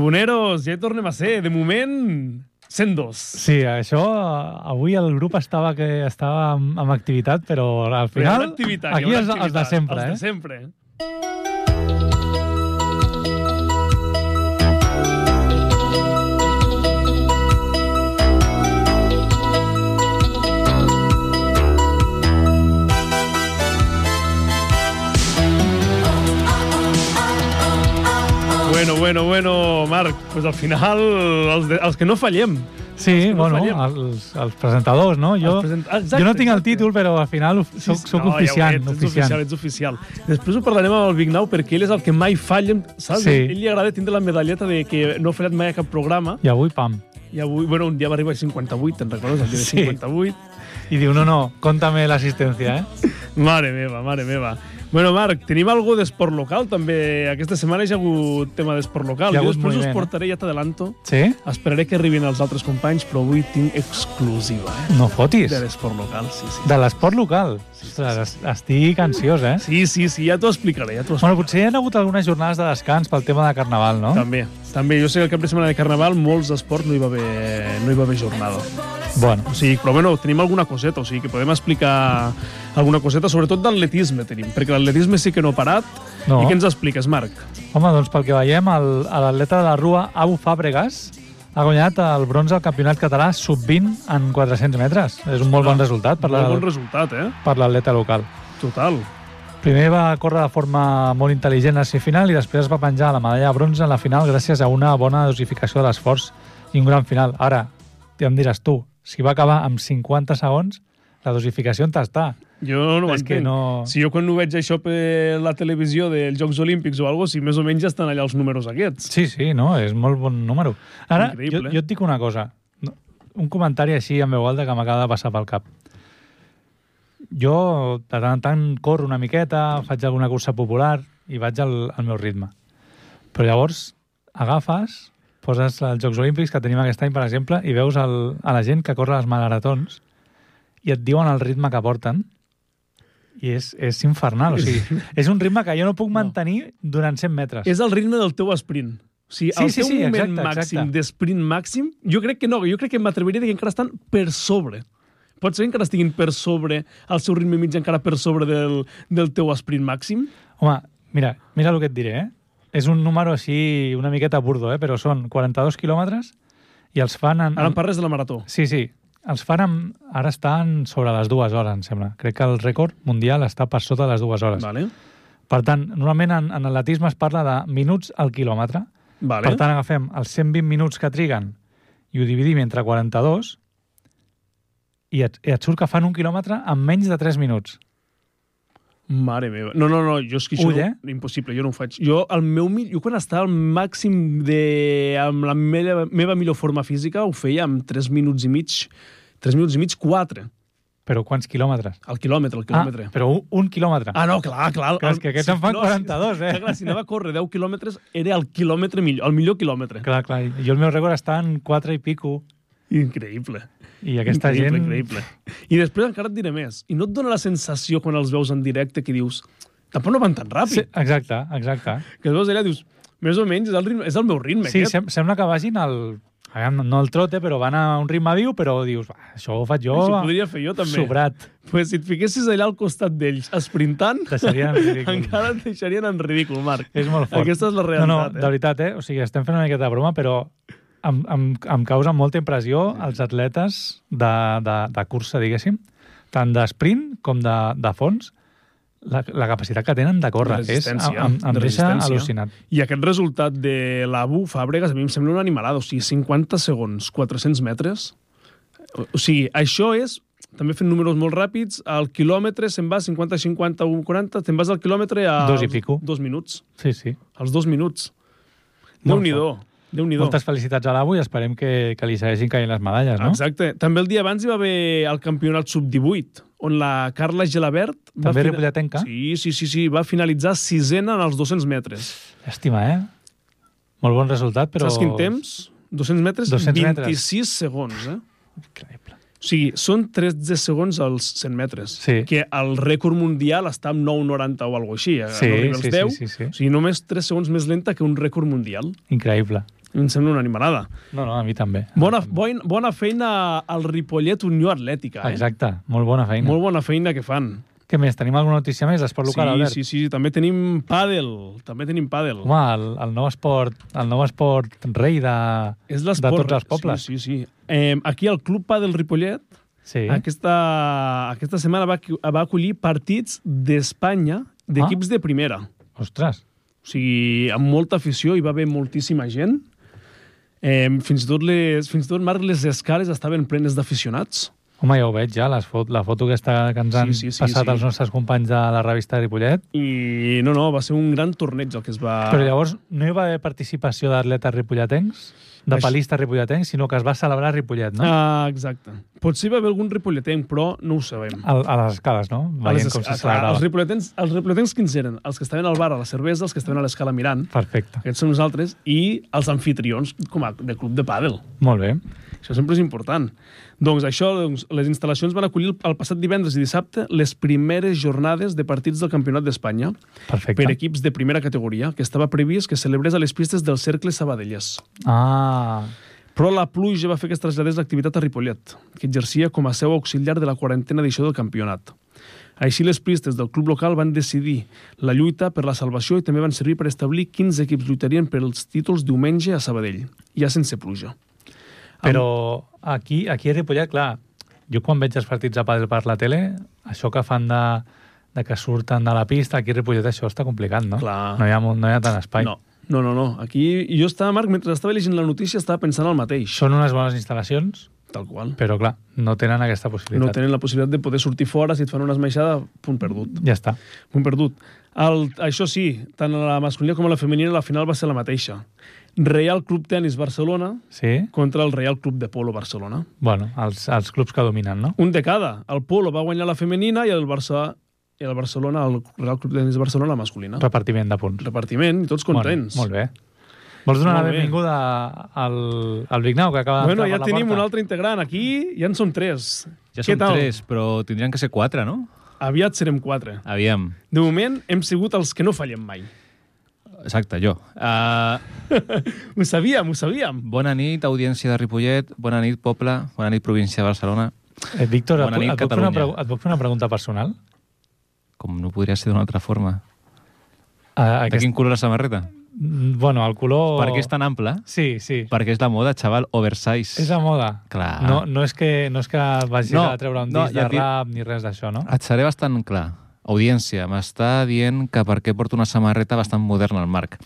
Tribuneros, ja hi tornem a ser. De moment, 102. Sí, això... eh, Avui el grup estava que estava amb, amb activitat, però al Però hi haurà final... activitat, hi aquí haurà els, els de activitat, sempre, els de eh? sempre. Bueno, bueno, bueno, Marc, pues al final els, de, els que no fallem. Sí, no bueno, fallem. els, els presentadors, no? Jo, Els present- Exacte, jo no tinc el exacte. títol, però al final of- soc, soc ja ho oficiant. ets, ets oficial, oficiant. ets oficial. Després ho parlarem amb el Big Now perquè ell és el que mai falla, saps? Sí. Ell li agrada tindre la medalleta de que no ha fallat mai a cap programa I avui, pam. i avui, bueno, un dia va arribar a 58, te'n recordes? El dia Sí. de 58. I diu, no, no, compta'm l'assistència, eh? Mare meva, mare meva. Bueno, Marc, tenim algú d'esport local, també. Aquesta setmana hi ha hagut tema d'esport local. Hi ha Jo hagut després us moviment, eh? portaré, ja t'adelanto. Sí? Esperaré que arribin els altres companys, però avui tinc exclusiva, eh? No fotis. De l'esport local, sí, sí. De l'esport local. Ostres, es- estic ansiós, eh? Sí, sí, sí, ja t'ho explicaré, ja t'ho explicaré. Bueno, potser hi ha hagut algunes jornades de descans pel tema de Carnaval, no? També, també. Jo sé que el cap de setmana de Carnaval molts esports no hi va haver, no hi va haver jornada. Bueno, O sigui, però bueno, tenim alguna coseta, o sigui que podem explicar alguna coseta, sobretot d'atletisme tenim, perquè l'atletisme sí que no ha parat. No. I què ens expliques, Marc? home, doncs pel que veiem, el- a l'atleta de la Rua, Abu Fàbregas, ha guanyat el bronze al campionat català sub-20 en 400 metres. És un molt bon resultat per Molt bon la- resultat, eh? per l'atleta local. Total. Primer va córrer de forma molt intel·ligent al ser final i després va penjar la medalla de bronze en la final gràcies a una bona dosificació de l'esforç i un gran final. Ara, ja em diràs tu, si va acabar amb 50 segons, la dosificació on està? Jo no ho És que entenc. no- Si jo quan ho veig això per la televisió dels Jocs Olímpics o alguna cosa, si més o menys ja estan allà els números aquests. Sí, sí, no, és molt bon número. Ara, jo, Increïble. jo et dic una cosa, no, un comentari així en veu alta que m'acaba de passar pel cap. Jo, de tant en tant, corro una miqueta, faig alguna cursa popular i vaig al, al meu ritme. Però llavors agafes, poses els Jocs Olímpics que tenim aquest any, per exemple, i veus el, a la gent que corre les maratons i et diuen el ritme que porten i és, és infernal. O sigui, és un ritme que jo no puc mantenir durant 100 metres. És el ritme del teu sprint. O sigui, Sí, el sí, teu sí, moment exacte, màxim exacte. d'esprint màxim, jo crec que no, jo crec que m'atreviria a dir que encara estan per sobre. Pot ser que encara estiguin per sobre, el seu ritme mig encara per sobre del, del teu sprint màxim? Home, mira, mira el que et diré, eh? És un número així una miqueta burdo, eh? però són 42 quilòmetres i els fan... En... Ara em parles de la marató. Sí, sí. Els fan amb... Ara estan sobre les dues hores, em sembla. Crec que el rècord mundial està per sota les dues hores. Vale. Per tant, normalment en, en atletisme es parla de minuts al quilòmetre. Vale. Per tant, agafem els 120 minuts que triguen i ho dividim entre 42 i et, i et surt que fan un quilòmetre en menys de 3 minuts. Mare meva. No, no, no, jo és que això Ull, no, impossible, jo no ho faig. Jo, el meu, mi- jo quan estava al màxim de... amb la meva, meva millor forma física ho feia amb 3 minuts i mig, 3 minuts i mig, 4, Però quants quilòmetres? al quilòmetre, al quilòmetre. Ah, però un, un quilòmetre. Ah, no, clar, clar. Clar, és que aquests en fan 42, eh? Clar, clar, si anava a córrer 10 quilòmetres, era el quilòmetre millor, el millor quilòmetre. Clar, clar. Jo el meu rècord està en 4 i pico. Increïble. I aquesta increïble, gent... Increïble. I després encara et diré més. I no et dona la sensació quan els veus en directe que dius tampoc no van tan Sí, ràpid. exacte, exacte. Sí. Que els veus allà i dius més o menys és el, ritme, és el meu ritme Sí, aquest. sem sembla que vagin al... aviam, No al trote, però van a un ritme viu, però dius, "Va, això ho faig jo... Això va, ho podria fer jo també. Sobrat. Pues si et fiquessis allà al costat d'ells, esprintant, Deixarien en ridícul. encara et deixarien en ridícul, Marc. És molt fort. Aquesta és la No, realitat. no, de veritat, eh? O sigui, estem fent una miqueta de broma, però em, em, em causa molta impressió els atletes de, de, de cursa, diguéssim, tant d'esprint com de, de fons, la, la capacitat que tenen de córrer. És, em, Resistència, em, em de deixa resistència. al·lucinat. I aquest resultat de l'Abu Fàbregas a mi em sembla una animalada. O sigui, 50 segons, 400 metres. O, o sigui, això és també fent números molt ràpids, al quilòmetre se'n va 50, 50, 1, 40, te'n vas al quilòmetre a... Dos i pico. Dos minuts. Sí, sí. Als dos minuts. Molt Déu-n'hi-do. Déu-n'hi-do. Moltes felicitats a l'Abu i esperem que, que li segueixin caient les medalles, no? Exacte. També el dia abans hi va haver el campionat sub-18, on la Carla Gelabert... va També fina- ripolletenca? Sí, sí, sí, sí, va finalitzar sisena en els 200 metres. Llàstima, eh? Molt bon resultat, però... Però... Saps quin temps? 200 metres, 200 26 metres. segons, eh? Increïble. O sigui, són 13 segons als 100 metres. Sí. Que el rècord mundial està amb 9,90 o alguna així. eh? Sí, no arriba als sí, 10, sí, sí, sí. O sigui, només 3 segons més lenta que un rècord mundial. Increïble. I em sembla una animalada. No, Ah, no, a mi també. Bona, boin, bona feina al Ripollet Unió Atlètica, eh? Ah, Exacte, molt bona feina. Molt bona feina que fan. Què més? Tenim alguna notícia més d'esport local, sí, Albert? sí, sí, també tenim pàdel, també tenim pàdel. Home, el, el, nou esport, el nou esport rei de, és de l'esport. tots els pobles. Sí, sí, sí. Eh, aquí al Club Pàdel Ripollet Sí, sí. aquesta, aquesta setmana va, acu- va acollir partits d'Espanya Ah. d'equips de primera. Ostres, O sigui, amb molta afició, hi va haver moltíssima gent. Eh, fins, i tot les, fins i tot, Marc, les escales estaven plenes d'aficionats. home, ja ho veig, ja, les fot, la foto que, està, que ens han Sí, sí, sí, passat sí. els nostres companys de la revista Ripollet. I no, no, va ser un gran torneig el que es va... Però llavors no hi va haver participació d'atletes ripollatencs, de Això- palistes ripollatencs, sinó que es va celebrar a Ripollet, no? Ah, exacte. Potser hi va haver algun ripolletenc, però no ho sabem. A, a les escales, no? A les Veient Ah, com es- se a- clar, els, celebrava. ripolletens, els ripolletens quins eren? Els que estaven al bar a la cervesa, els que estaven a l'escala mirant, Perfecte, aquests són nosaltres, i els anfitrions com a, de club de pàdel. molt bé. Això sempre és important. Doncs això, doncs, les instal·lacions van acollir el, el passat divendres i dissabte les primeres jornades de partits del Campionat d'Espanya per Perfecte. equips de primera categoria, que estava previst que celebrés a les pistes del Cercle Sabadellers. Ah, Però la pluja va fer que es traslladés l'activitat a Ripollet, que exercia com a seu auxiliar de la quarantena edició del campionat. Així, les pistes del club local van decidir la lluita per la salvació i també van servir per establir quins equips lluitarien pels títols diumenge a Sabadell, ja sense pluja. Però aquí, aquí a Ripollet, clar, jo quan veig els partits de pàdel per la tele, això que fan de, de que surten de la pista, aquí a Ripollet això està complicat, no? Clar. No hi ha, molt, no hi ha tant espai. No, no, no, no. Aquí i jo estava, Marc, mentre estava llegint la notícia estava pensant el mateix, Són unes bones instal·lacions, tal qual. però clar, no tenen aquesta possibilitat. No tenen la possibilitat de poder sortir fora si et fan una esmaixada, punt perdut. Ja està. Punt perdut. El, això sí, tant a la masculina com a la femenina la final va ser la mateixa. Real Club Tenis Barcelona Sí? contra el Real Club de Polo Barcelona. Bueno, els, els clubs que dominen, no? Un de cada. El Polo va guanyar la femenina i el Barça i el Barcelona, el Real Club Tenis Barcelona, la masculina. Repartiment de punts. Repartiment i tots Ah. contents. Bueno, molt bé. Vols donar Molt la bé. benvinguda al, al Vignau, que acaba Bueno, d'entrar ja per Ah, la tenim porta? un altre integrant aquí, ja en som tres. Ja Què som tal? tres, però tindrien que ser quatre, no? Aviat serem quatre. Aviam. De moment hem sigut els que no fallem mai. Exacte, jo. Uh, Ho sabíem, ho sabíem. bona nit, audiència de Ripollet. Bona nit, poble. Bona nit, província de Barcelona. Eh, Víctor, et, Bona nit, et, puc fer una Catalunya. pregu- et puc fer una pregunta personal? Com no podria ser d'una altra forma. Ah, De quin color la samarreta? Mm, Bueno, el color... Per què és tan ample? Sí, sí. Perquè és la moda, xaval, oversize. És la moda. Clar. No, no, és que, no és que vagis No, a treure un no, disc ja de et dic- rap ni res d'això, no? Et seré bastant clar. Audiència, m'està dient que per què porto una samarreta bastant moderna al Marc.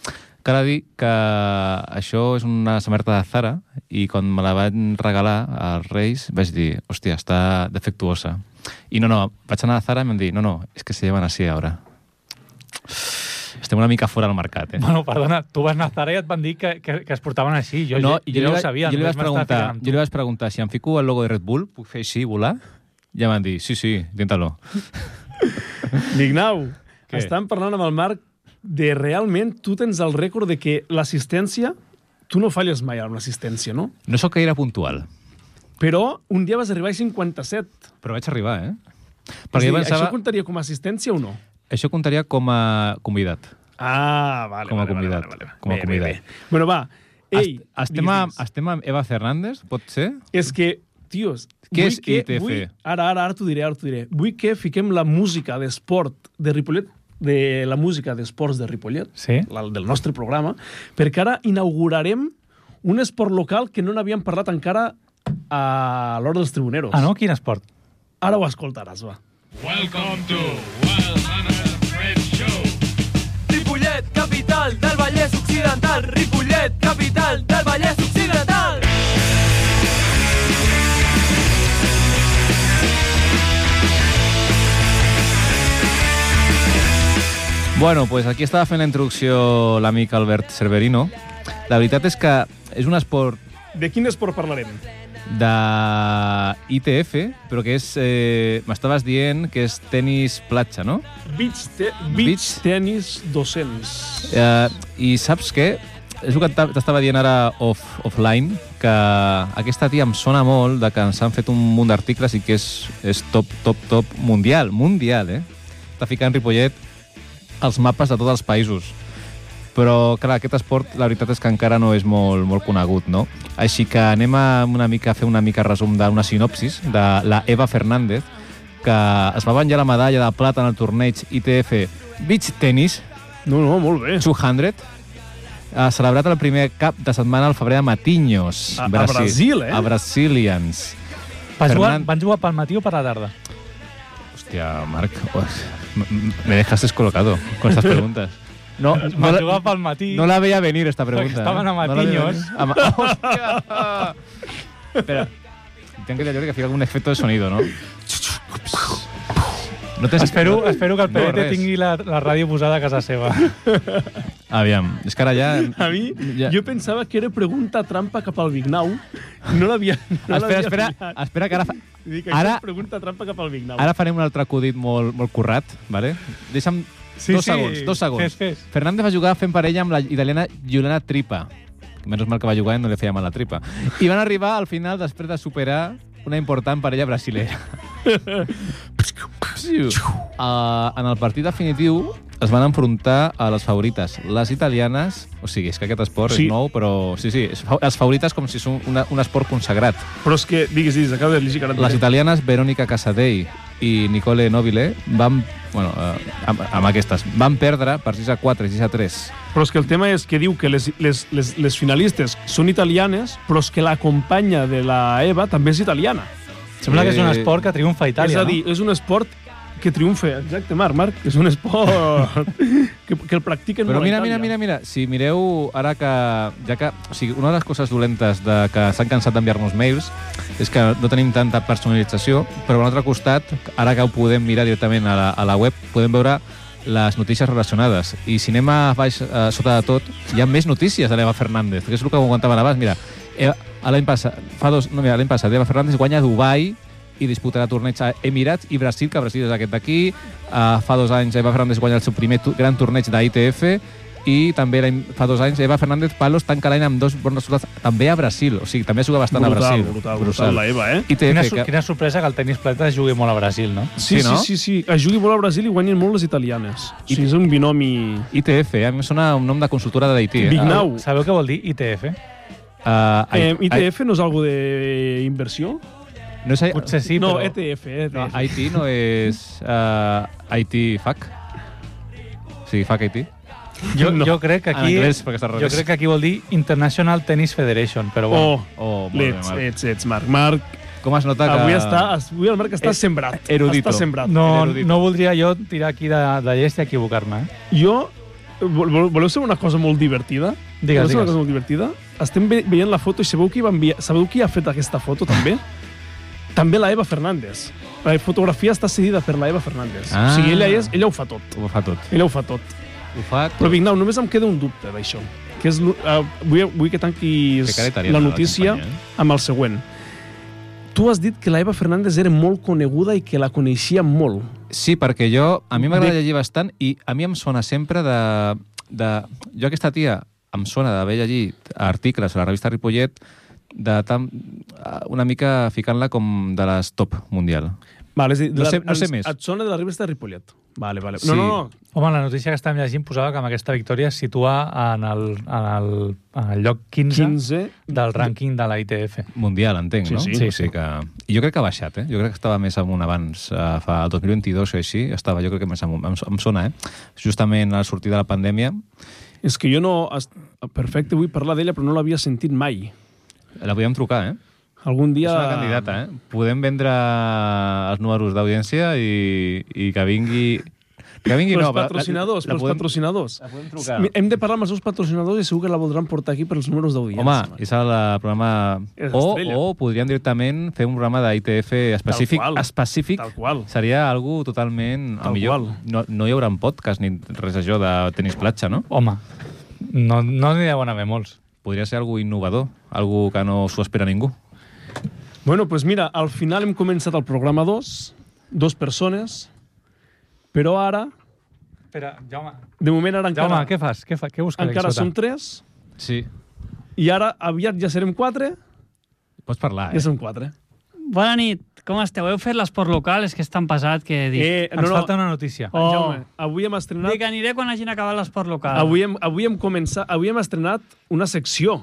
Cal a dir que això és una samarreta de Zara i quan me la van regalar als Reis vaig dir, hòstia, està defectuosa. I no, no, vaig anar a Zara i em dir, no, no, és que se lleven així ara. Estem una mica fora del mercat, eh? Bueno, perdona, tu vas anar a Zara i et van dir que, que, que es portaven així. Jo, no, jo, jo, ja ho vaig- sabia. jo li, només vaig m'estava preguntar, ficant amb jo tu. li vaig preguntar si em fico el logo de Red Bull, puc fer així i volar? Ja em van dir, sí, sí, tenta-lo. Lignau, Què? estàvem parlant amb el Marc de realment tu tens el rècord de que l'assistència, tu no falles mai amb l'assistència, no? No sóc gaire puntual, Però un dia vas arribar a 57. Però vaig arribar, eh? És a Perquè dir, jo pensava... Això comptaria com a assistència o no? Això comptaria com a convidat. Ah, vale. Com a vale, convidat, Vale, vale, vale. com a Bé, bé, convidat. bé. Bueno, va. Ei, Est- estem, amb, digues, digues. estem amb Eva Fernández, pot ser? És que, tios... Què vull és que- ITF? Vull, ara, ara, ara t'ho diré, ara t'ho diré. Vull que fiquem la música d'esport de Ripollet, de la música d'esports de Ripollet, Sí? la del nostre programa, perquè ara inaugurarem un esport local que no n'havíem parlat encara a l'hora dels tribuneros. Ah, no? Quin esport? Ara ho escoltaràs, va. Welcome to Wild Hunter Friends Show. Ripollet, capital del Vallès Occidental. Ripollet, capital del Vallès Occidental. Bueno, pues aquí estava fent la introducció l'amic Albert Cerverino. La veritat és que és un esport De quin esport parlarem? de ITF, però que és... Eh, M'estaves dient que és tennis platja, no? Beach, te beach, Beach. tennis 200. Eh, I saps què? És el que t'ha- t'estava dient ara off, offline, que aquesta tia em sona molt de que ens han fet un munt d'articles i que és, és top, top, top mundial, mundial, eh? Està ficant Ripollet els mapes de tots els països. Però, clar, aquest esport, la veritat és que encara no és molt, molt conegut, no? Així que anem a, una mica, a fer una mica resum d'una sinopsis de la Eva Fernández, que es va venjar la medalla de plata en el torneig ITF Beach Tennis No, no, molt bé. 200, ha celebrat el primer cap de setmana al febrer a Matinyos, A- a Brasil, eh? A Brasilians. Van jugar, Fernan- van jugar pel matí o per la tarda? Hòstia, Marc, os- m- m- me dejas descolocado con estas preguntas. No, no, Van la- jugar pel matí. no la veía venir esta pregunta. Porque estaban ¿eh? a No la veía matiños. venir. A ma- ¡Hostia! Espera, tengo que decir que hacía algún efecto de sonido, ¿no? No te Espero, espero que el No, PDT res. tingui la, la ràdio posada a casa seva. Aviam, és que ara ja... A mi, Ja. jo pensava que era pregunta trampa cap al Vignau. No l'havia... No l'havia espera, espera, pillat. espera, que ara, fa... Dic, Ara- ara... pregunta trampa cap al Vignau. ara farem un altre acudit molt, molt currat, ¿vale? Deixa'm Sí, dos sí, segons, dos segons. fes, fes. Fernández va jugar fent parella amb la italiana Juliana Tripa. Menos mal que va jugar i no li feia mal la tripa. I van arribar al final després de superar una important parella brasilera. uh, en el partit definitiu es van enfrontar a les favorites, les italianes, o sigui, és que aquest esport Sí. és nou, però sí, sí, és fa- les favorites com si és un, una, un esport consagrat. Però és que, digues, digues, acabo de llegir que ara... et Les diré. italianes Verónica Casadei i Nicole Nobile van, bueno, eh, amb, amb aquestes, van perdre per 6 a 4 i 6 a 3. Però és que el tema és que diu que les, les, les, les finalistes són italianes, però és que la companya de la Eva també és italiana. Sembla que és un Eh, esport que triomfa a Itàlia, és a dir, és un esport que triomfa. Exacte, Marc, Marc, és un esport que, que el practiquen Però molt mira, a mira, Itàlia. mira, mira, si mireu ara que... Ja que o sigui, una de les coses dolentes de que s'han cansat d'enviar-nos mails és que no tenim tanta personalització, però a l'altre costat, ara que ho podem mirar directament a la, a la web, podem veure les notícies relacionades. I si anem a baix, eh, sota de tot, hi ha més notícies de l'Eva Fernández, que és el que comentaven abans. Mira, Eva, a l'any passat, fa dos... No, mira, l'any passat, Eva Fernández guanya a Dubai i disputarà torneig a Emirats i Brasil, que Brasil és aquest d'aquí. Uh, fa dos anys Eva Fernández guanya el seu primer tu- gran torneig d'ITF i també l'any- fa dos anys Eva Fernández Palos tanca l'any amb dos bons resultats també a Brasil, o sigui, també juga bastant brutal, a Brasil. brutal, brutal, la Eva, eh? ITF, Quina, su que... quina sorpresa que el tenis plata jugui molt a Brasil, no? Sí, Sí, sí, no? sí, sí, sí. Es jugui molt a Brasil i guanyen molt les italianes. O sigui, és un binomi... ITF, eh, a mi em sona un nom de consultora eh. de Haití. Big Now. Au. Sabeu què vol dir ITF? Uh, Eh, ITF no és algo de inversió? no és, Potser sí, no, E però... ETF, ETF. No, Haití no és uh, Haití FAC? Sí, FAC Haití. Jo, No. jo crec que En aquí... anglès, Ah, perquè està al jo revés. crec que aquí vol dir International Tennis Federation, però bueno. Oh, Oh, molt bé, ets, Marc. ets, ets, Marc. Marc, Com es nota que... avui, està, avui el Marc està Eh, sembrat. erudito. Està sembrat. No, Erudito. no voldria jo tirar aquí de, de llest i equivocar-me, eh? Jo, vol- vol- voleu saber una cosa molt divertida? voleu saber Digues, una digues. cosa molt divertida? Estem ve veient la foto i sabeu qui, va enviar, sabeu qui ha fet aquesta foto també? també la Eva Fernández. La fotografia està cedida per la Eva Fernández. Ah. O sigui, ella, és, ella ho fa tot. Ho fa tot. Ella ho fa tot. Ho fa Però tot. Vignau, només em queda un dubte d'això. Que és, l'u- eh, vull, vull que tanquis Que caretària la la notícia companya, eh? amb el següent. Tu has dit que la Eva Fernández era molt coneguda i que la coneixia molt. Sí, perquè jo... A mi m'agrada De- llegir bastant i a mi em sona sempre de... de jo aquesta tia em sona d'haver llegit articles a la revista Ripollet de tan, una mica ficant-la com de les top mundial. Vale, és a dir, No la- sé- no sé ens- més. Et sona de la revista de Ripollet. Vale, vale. Sí. No, no, no. Home, la notícia que estàvem llegint posava que amb aquesta victòria es situa en el, en el, en el lloc 15, 15 del rànquing de la ITF. Mundial, entenc, Sí, no? sí. O sigui que... I jo crec que ha baixat, eh? Jo crec que estava més amunt abans, eh, fa el 2022 o així, estava jo crec que més amunt, em, em sona, eh? Justament a la sortida de la pandèmia, És que jo no... es- Perfecte, vull parlar d'ella, però no l'havia sentit mai. la podíem trucar, eh? Algun dia... És una candidata, eh? Podem vendre els números d'audiència i, i que vingui... Que vingui, Pels no, la- la- patrocinadors, la pels podem- patrocinadors. podem trucar. Mi- Hem de parlar amb els seus patrocinadors i segur que la voldran portar aquí pels números d'audiència. Home, és el eh, programa... És O, estrella. o podríem directament fer un programa d'ITF específic. qual. específic. Tal qual. Seria algú totalment... a Tal millor, qual. no, no hi haurà podcast ni res això de tenis platja, no? Home, no, no n'hi deuen haver molts. Podria ser algú innovador, algú que no s'ho espera ningú. Bueno, doncs pues mira, al final hem començat el programa 2, dos persones, però ara, Espera, Jaume. de moment ara encara, Jaume, què fas? Què, fa? què busques aquí encara sota? som tres, Sí. i ara aviat ja serem quatre, Pots parlar, ja eh? som quatre. Bona nit, com esteu? Heu fet l'esport local? És que és tan pesat que dic... Eh, Ens no, falta una notícia. Oh. Jaume, avui hem estrenat... Dic, aniré quan hagin acabat l'esport local. Avui hem, avui hem començat... Avui hem estrenat una secció.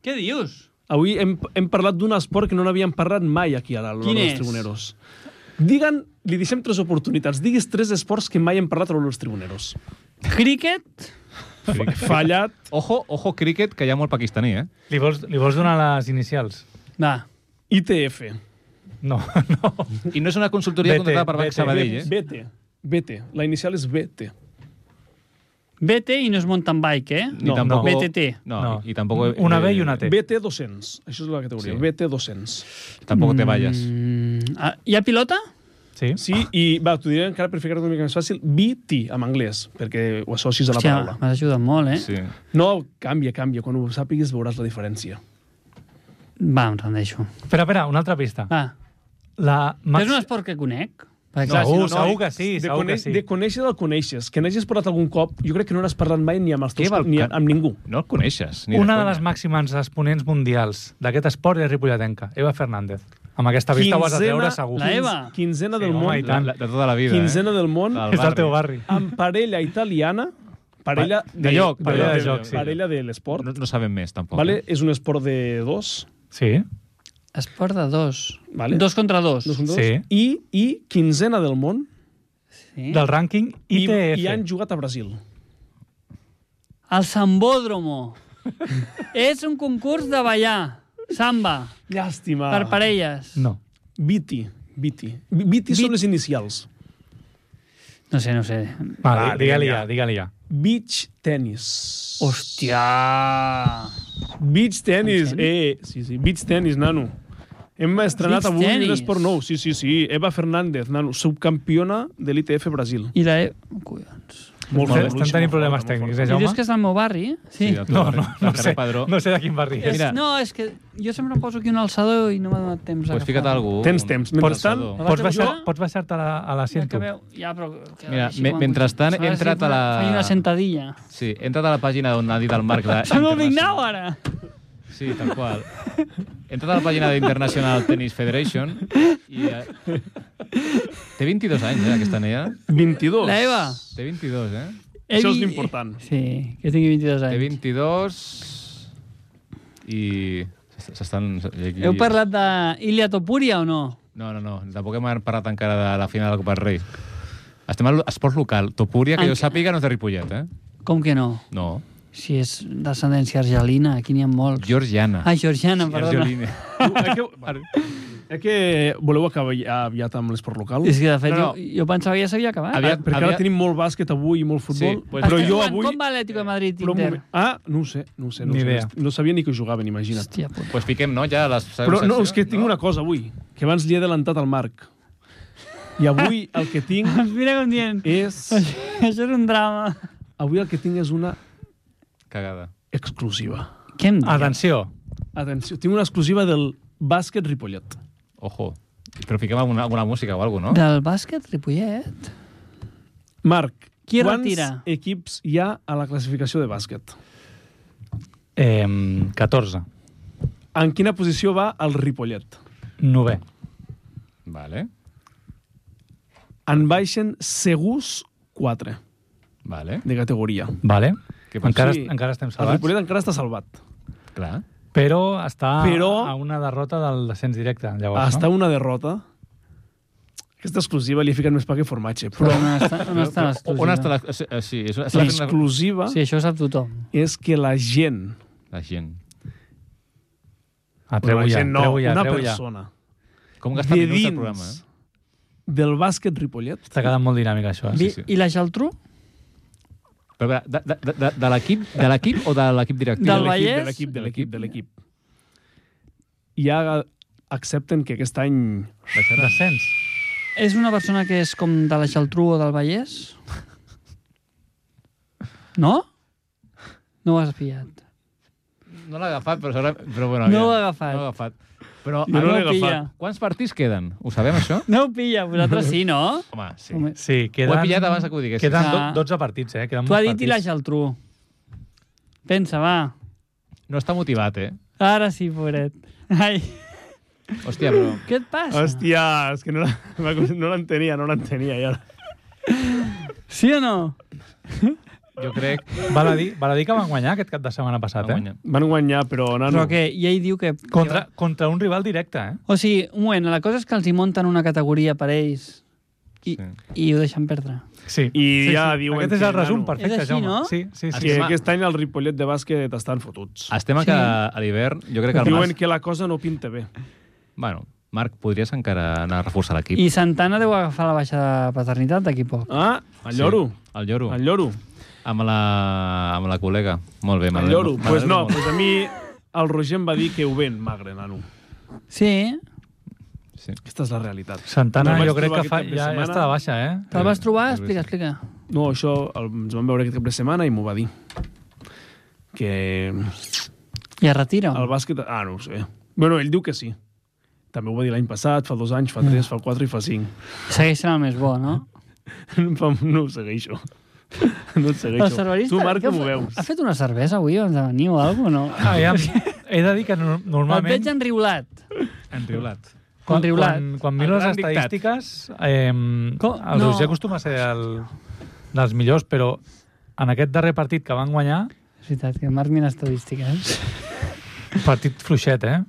Què dius? Avui hem, hem parlat d'un esport que no n'havíem parlat mai aquí a la Lola Quin dels és? Tribuneros. Diguen, li deixem tres oportunitats. Diguis tres esports que mai hem parlat a Lola dels Tribuneros. Cricket? Fallat. Ojo, ojo, críquet, que hi ha molt pakistaní, eh? Li vols, li vols donar les inicials? Va. ITF. No, no. I no és una consultoria Vete, contratada per Banc vete. Sabadell, eh? BT. BT. La inicial és BT. BT i no és mountain bike, eh? Ni No, tampoc... no. BTT. No, no. I, i tampoc... eh, Una B i una T. BT 200. Això és la categoria. Sí. Sí. BT 200. Tampoc te balles. Mm, ah, hi ha pilota? Sí? Sí, i va, t'ho diré encara per ficar-ho una mica més fàcil, BT, en anglès, perquè ho associs a la Hòstia, paraula. m'has ajudat molt, eh? Sí. No, canvia, canvia. Quan ho sàpigues veuràs la diferència. Va, em rendeixo. Espera, espera, una altra pista. Va. La Max... Max... És un esport que conec? Clar, Perquè, clar, segur, si no, segur que sí, de, segur que sí. de conèixer el coneixes. Que n'hagis parlat algun cop, jo crec que no n'has parlat mai ni amb els Què teus, val ni que- amb ningú. No el coneixes. Ni Una de de, conya. les màximes exponents mundials d'aquest esport és ripollatenca, Eva Fernández. Amb aquesta vista ho has de treure segur. la Eva. quinzena Sí, del home, i món, tant. La- De tota la vida, quinzena eh? del món, Del És del teu barri. amb parella italiana, parella de lloc, parella de de- joc, sí. parella de Port. l'esport. No, no sabem més, tampoc. Vale? eh? És un esport de dos, Sí. esport de dos. Vale. Dos contra dos. dos, contra dos Sí. i, i quinzena del món, Sí. Del rànquing i, ITF. i han jugat a Brasil. El sambódromo. és un concurs de ballar. Samba. Llàstima. Per parelles. No. Viti. Viti. Vi- Viti són Vit- les inicials. No sé, no sé. Va, Ah, di- digue-li ja, digue-li ja. Beach tennis. Hòstia. Beach tennis, En eh, sí, sí, beach tennis, nano. Hem estrenat Beach avui tennis. un esport nou, sí, sí, sí. Eva Fernández, nano, subcampiona de l'ITF Brasil. I la Eva... Collons. Molt fort, Estan- Estan Luis, tenint molt problemes fort, molt tècnics, fort. eh, I Jaume? dius que és del meu barri? Sí. del teu No, barri, no, del no carrer sé, Padró. no sé de quin barri És, és. Mira. no, és que jo sempre em poso aquí un alçador i no m'ha donat temps Pues fica't algú. Tens un- temps. un Mentrestant, alçador. Pots L'altre baixar- dia- pots baixar-te a la- a la Ja, que Ciento. veu, ja, però... Que Mira, així me- quan mentrestant, vull- he entrat a Faig la- una sentadilla. Sí, entra't a la pàgina on ha dit el Marc... de- Som el Big Now, ara! Sí, tal qual. Entra't a la pàgina d'International Tennis Federation i... eh, Té 22 anys, eh, aquesta neia. 22. La Eva. Té 22, eh? Això és Evi- l'important. Sí, que tingui 22 Té anys. 22 i s'est- s'estan... Aquí... Heu parlat d'Ilia Topuria o no? No, no, no. Tampoc hem parlat encara de la final de la Copa del Rei. Estem a l'esport local. Topúria, que jo Enca- sàpiga, no és de Ripollet, eh? Com que no? No. Si és d'ascendència argelina, aquí n'hi ha molts. Georgiana. Ah, georgiana, perdona. Georgiana. Eh que, eh que voleu acabar ja aviat amb l'esport local? És que, de fet, No, no. Jo, jo pensava que ja s'havia acabat. Aviat, Ah, Perquè ara aviat- tenim molt bàsquet avui i molt futbol, Sí, pues- però Estem jo jugant avui... Com va Eh, l'Atlético de Madrid, Però un Inter? moment- Ah, no ho sé, no ho sé. No, Ni ho sé. idea. no sabia ni que jugaven, imagina't. Hòstia puta. pues fiquem, no, ja a les... Però no, és que tinc una cosa avui, que abans li he adelantat al Marc. I avui el que tinc Mira com dient, és... Eh. això és un drama. Avui el que tinc és una Cagada. exclusiva. Què em dius? Atenció. Atenció, tinc una exclusiva del bàsquet Ripollet. Ojo. Però fiquem alguna, alguna música o alguna no? Del bàsquet Ripollet? Marc, Qui quants retira? equips hi ha a la classificació de bàsquet? Eh, 14. En quina posició va el Ripollet? 9. Vale, En baixen segurs 4 vale. de categoria. Vale. Què passa? Encara, encara estem El salvats. Ripollet encara està salvat. Clar. Però està Però- a una derrota del descens directe, llavors, Està Oh, no? una derrota. Aquesta exclusiva li he ficat més pa que formatge, Però però on està, on està O- l'exclusiva? On està la... o sigui, eh, Sí, és una, és una, l'exclusiva Sí, això ho sap tothom. és que la gent la gent. Ah, Bueno, treu la ja, gent no, treu ja, una treu ja. persona Com gasta de minuts el dins programa, eh? del bàsquet Ripollet Està quedant molt dinàmic, això. Eh? Vi, Ah, sí. I la Geltrú? Però, a veure, de, de, de, de- de l'equip de l'equip o de l'equip directiu? Del l'equip, Vallès? De l'equip, de l'equip, de l'equip. Ja accepten que aquest any... Baixarà. Descens. És una persona que és com de la Geltrú o del Vallès? No? No ho has pillat. No l'ha agafat, però, segurament- però bueno, No aviam. ho ha agafat. No l'ha agafat. Però, Jo no l'he ho pilla. agafat. Quants partits queden? Ho sabem, això? No ho pilla, vosaltres sí, no? Home, sí. Home, Sí, queden... Ho he pillat abans que ho diguessis. Queden Ah. do- 12 partits, eh? Queden T'ho ha molts dit i la partits. Geltrú. Pensa, va. No està motivat, eh? Ara sí, pobret. Ai. Hòstia, però... Què et passa? Hòstia, és que no la- no l'entenia, no l'entenia. I ara... Sí o no? Jo crec que Val a, dir, val a dir que van guanyar aquest cap de setmana passat, va guanyar. eh? Van guanyar, però, nano... Però que ja hi diu que... Contra, contra un rival directe, eh? O sigui, un moment, la cosa és que els hi munten una categoria per ells i, Sí. i ho deixen perdre. Sí. I sí, ja sí. diuen Aquest és el que, resum nano, perfecte, És així, Jaume. no? Sí, sí, sí. Que Sí, aquest any el Ripollet de bàsquet estan fotuts. Estem a, Sí. que a l'hivern, jo crec que el Diuen Marc... que la cosa no pinta bé. Bueno, Marc, podries encara anar a reforçar l'equip. I Santana deu agafar la baixa de paternitat d'aquí a poc. Ah, el lloro. Sí, el lloro. El lloro. Amb la, amb la col·lega. Molt bé, El m'agrada- lloro. m'agrada Pues no, molt. pues a mi el Roger em va dir que ho ven, magre, nano. Sí, Sí. Aquesta és la realitat. Santana Me'l vaig jo crec trobar que fa, aquest cap de ja, ja setmana. està de baixa, eh? te'l vas Sí, sí, trobar? sí. Explica, explica. No, això el, ens vam veure aquest cap de setmana i m'ho va dir. Que I es retira. el bàsquet... Ah, no ho sé. Bueno, ell diu que sí. També ho va dir l'any passat, fa dos anys, fa tres, fa quatre i fa cinc. Segueix sent el més bo, no? Fa- No ho segueixo. No et segueixo. El cerverista... Tu, Marc, què com ho fa- veus? Ha fet una cervesa avui abans de venir o alguna cosa, no? Ah, ja, he de dir que no, El veig normalment... enriulat. Enriulat. Quan, enriulat. quan, quan miro El les gran dictat. estadístiques, eh, el No. Roger acostuma a ser el, dels millors, però en aquest darrer partit que van guanyar, És veritat, que Marc mira estadístiques. partit fluixet, eh?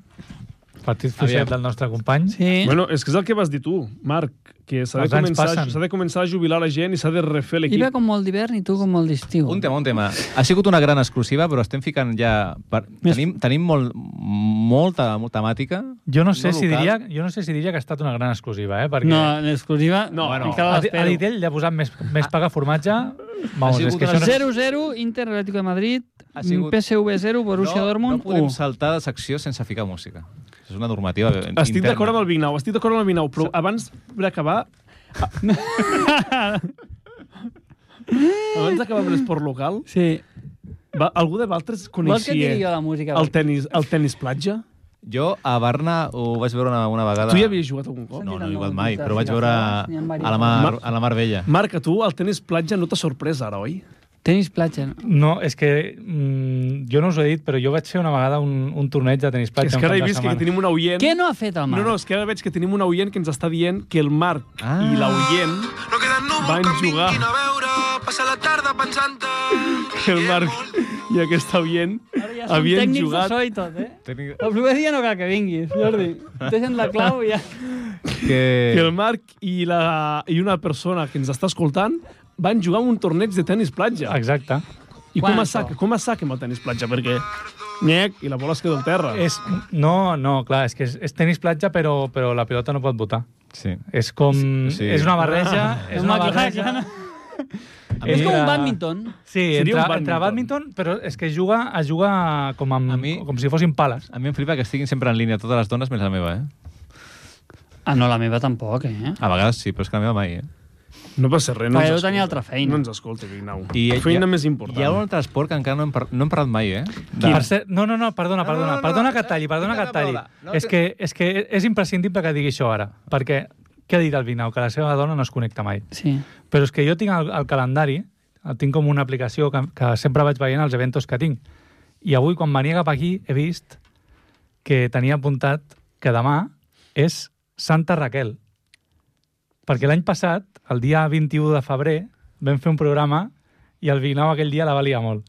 Partit fluixet Aviam. del nostre company. Sí. Bueno, és que és el que vas dir tu, Marc, que s'ha de, Els anys començar, passen. s'ha de començar a jubilar la gent i s'ha de refer l'equip. Iba com molt d'hivern i tu com molt d'estiu. Un tema, un tema. Ha sigut una gran exclusiva, però estem ficant ja... Per... Més- Tenim, tenim molt, molta, molta temàtica. Jo no, sé No si local. diria, jo no sé si diria que ha estat una gran exclusiva, eh? Perquè No, en exclusiva No, bueno, encara a, Di- a l'espero. Ditell li ha posat més, més paga formatge. Vamos, sigut és que una això no... 0-0, Inter Atlético de Madrid, Ha sigut- PSV 0, Borussia no, Dortmund no podem 1. saltar de secció sense ficar música. És una normativa interna. Estic d'acord amb el Vignau, estic d'acord amb el Vignau, però abans d'acabar... abans d'acabar amb l'esport local, Sí. va, algú de Valtres Vols que et digui jo coneixia la música? el tenis, el tenis platja? Jo a Barna ho vaig veure una, una vegada... Tu hi havies jugat algun cop? No, no he Tira jugat nou mai, puntes, però vaig tira veure flors, n'hi ha diverses. a la Mar, Mar- a la Mar Vella. Marc, a tu el tenis platja no t'ha sorprès ara, oi? Tenis platja. no? No, és que mm, jo no us ho he dit, però jo vaig fer una vegada un, un torneig de tenis platja. és un que ara cap he de vist que, setmana. tenim un oient... Què no ha fet el No, Marc? no, és que ara veig que tenim un oient que ens està dient que el Marc Ah. i l'oient No queda núvol Van que em jugar. vinguin a veure, passar la tarda pensant-te... que el Marc i aquest oient Ara ja som havien tècnics de jugat... so i tot, eh? Tècnic- El primer dia no cal que vinguis, Jordi. Deixen la clau i ja... Que... que el Marc i, la, i una persona que ens està escoltant van jugar a un torneig de tennis platja. Exacte. I com Quan, a sac, això? com a sac amb el tennis platja, perquè nyec, i la bola es queda al terra. És, no, no, clar, és que és, és tenis platja, però, però la pilota no pot votar. Sí. És com... Sí. Sí. És una barreja... Ah, és una clar, barreja... clar, no? A És És mi- com Mira. un badminton. Sí, Seria un entre, badminton. bàdminton. entre badminton, però és que juga a jugar com, amb, A mi- mi... com si fossin pales. A mi em flipa que estiguin sempre en línia totes les dones, més la meva, eh? Ah, no, la meva tampoc, eh? A vegades sí, però és que la meva mai, eh? No passa res, no ens Perquè deu escolta. tenir altra feina. No ens escolta, Vignau. I hi ha- feina hi ha- més important. Hi ha un altre esport que encara no hem, par no hem parlat mai, eh? De... Per cert, no, no, no, perdona, no, perdona, no, perdona no, que et talli, perdona que et talli. tinc la paraula. No, És que, és que és imprescindible que digui això ara, perquè què ha dit el Vinau? Que la seva dona no es connecta mai. Sí. Però és que jo tinc el, el calendari, el tinc com una aplicació que, que sempre vaig veient els eventos que tinc. I avui, quan venia cap aquí, he vist que tenia apuntat que demà és Santa Raquel. Perquè l'any passat, el dia 21 de febrer, vam fer un programa i el Vinau aquell dia la valia molt.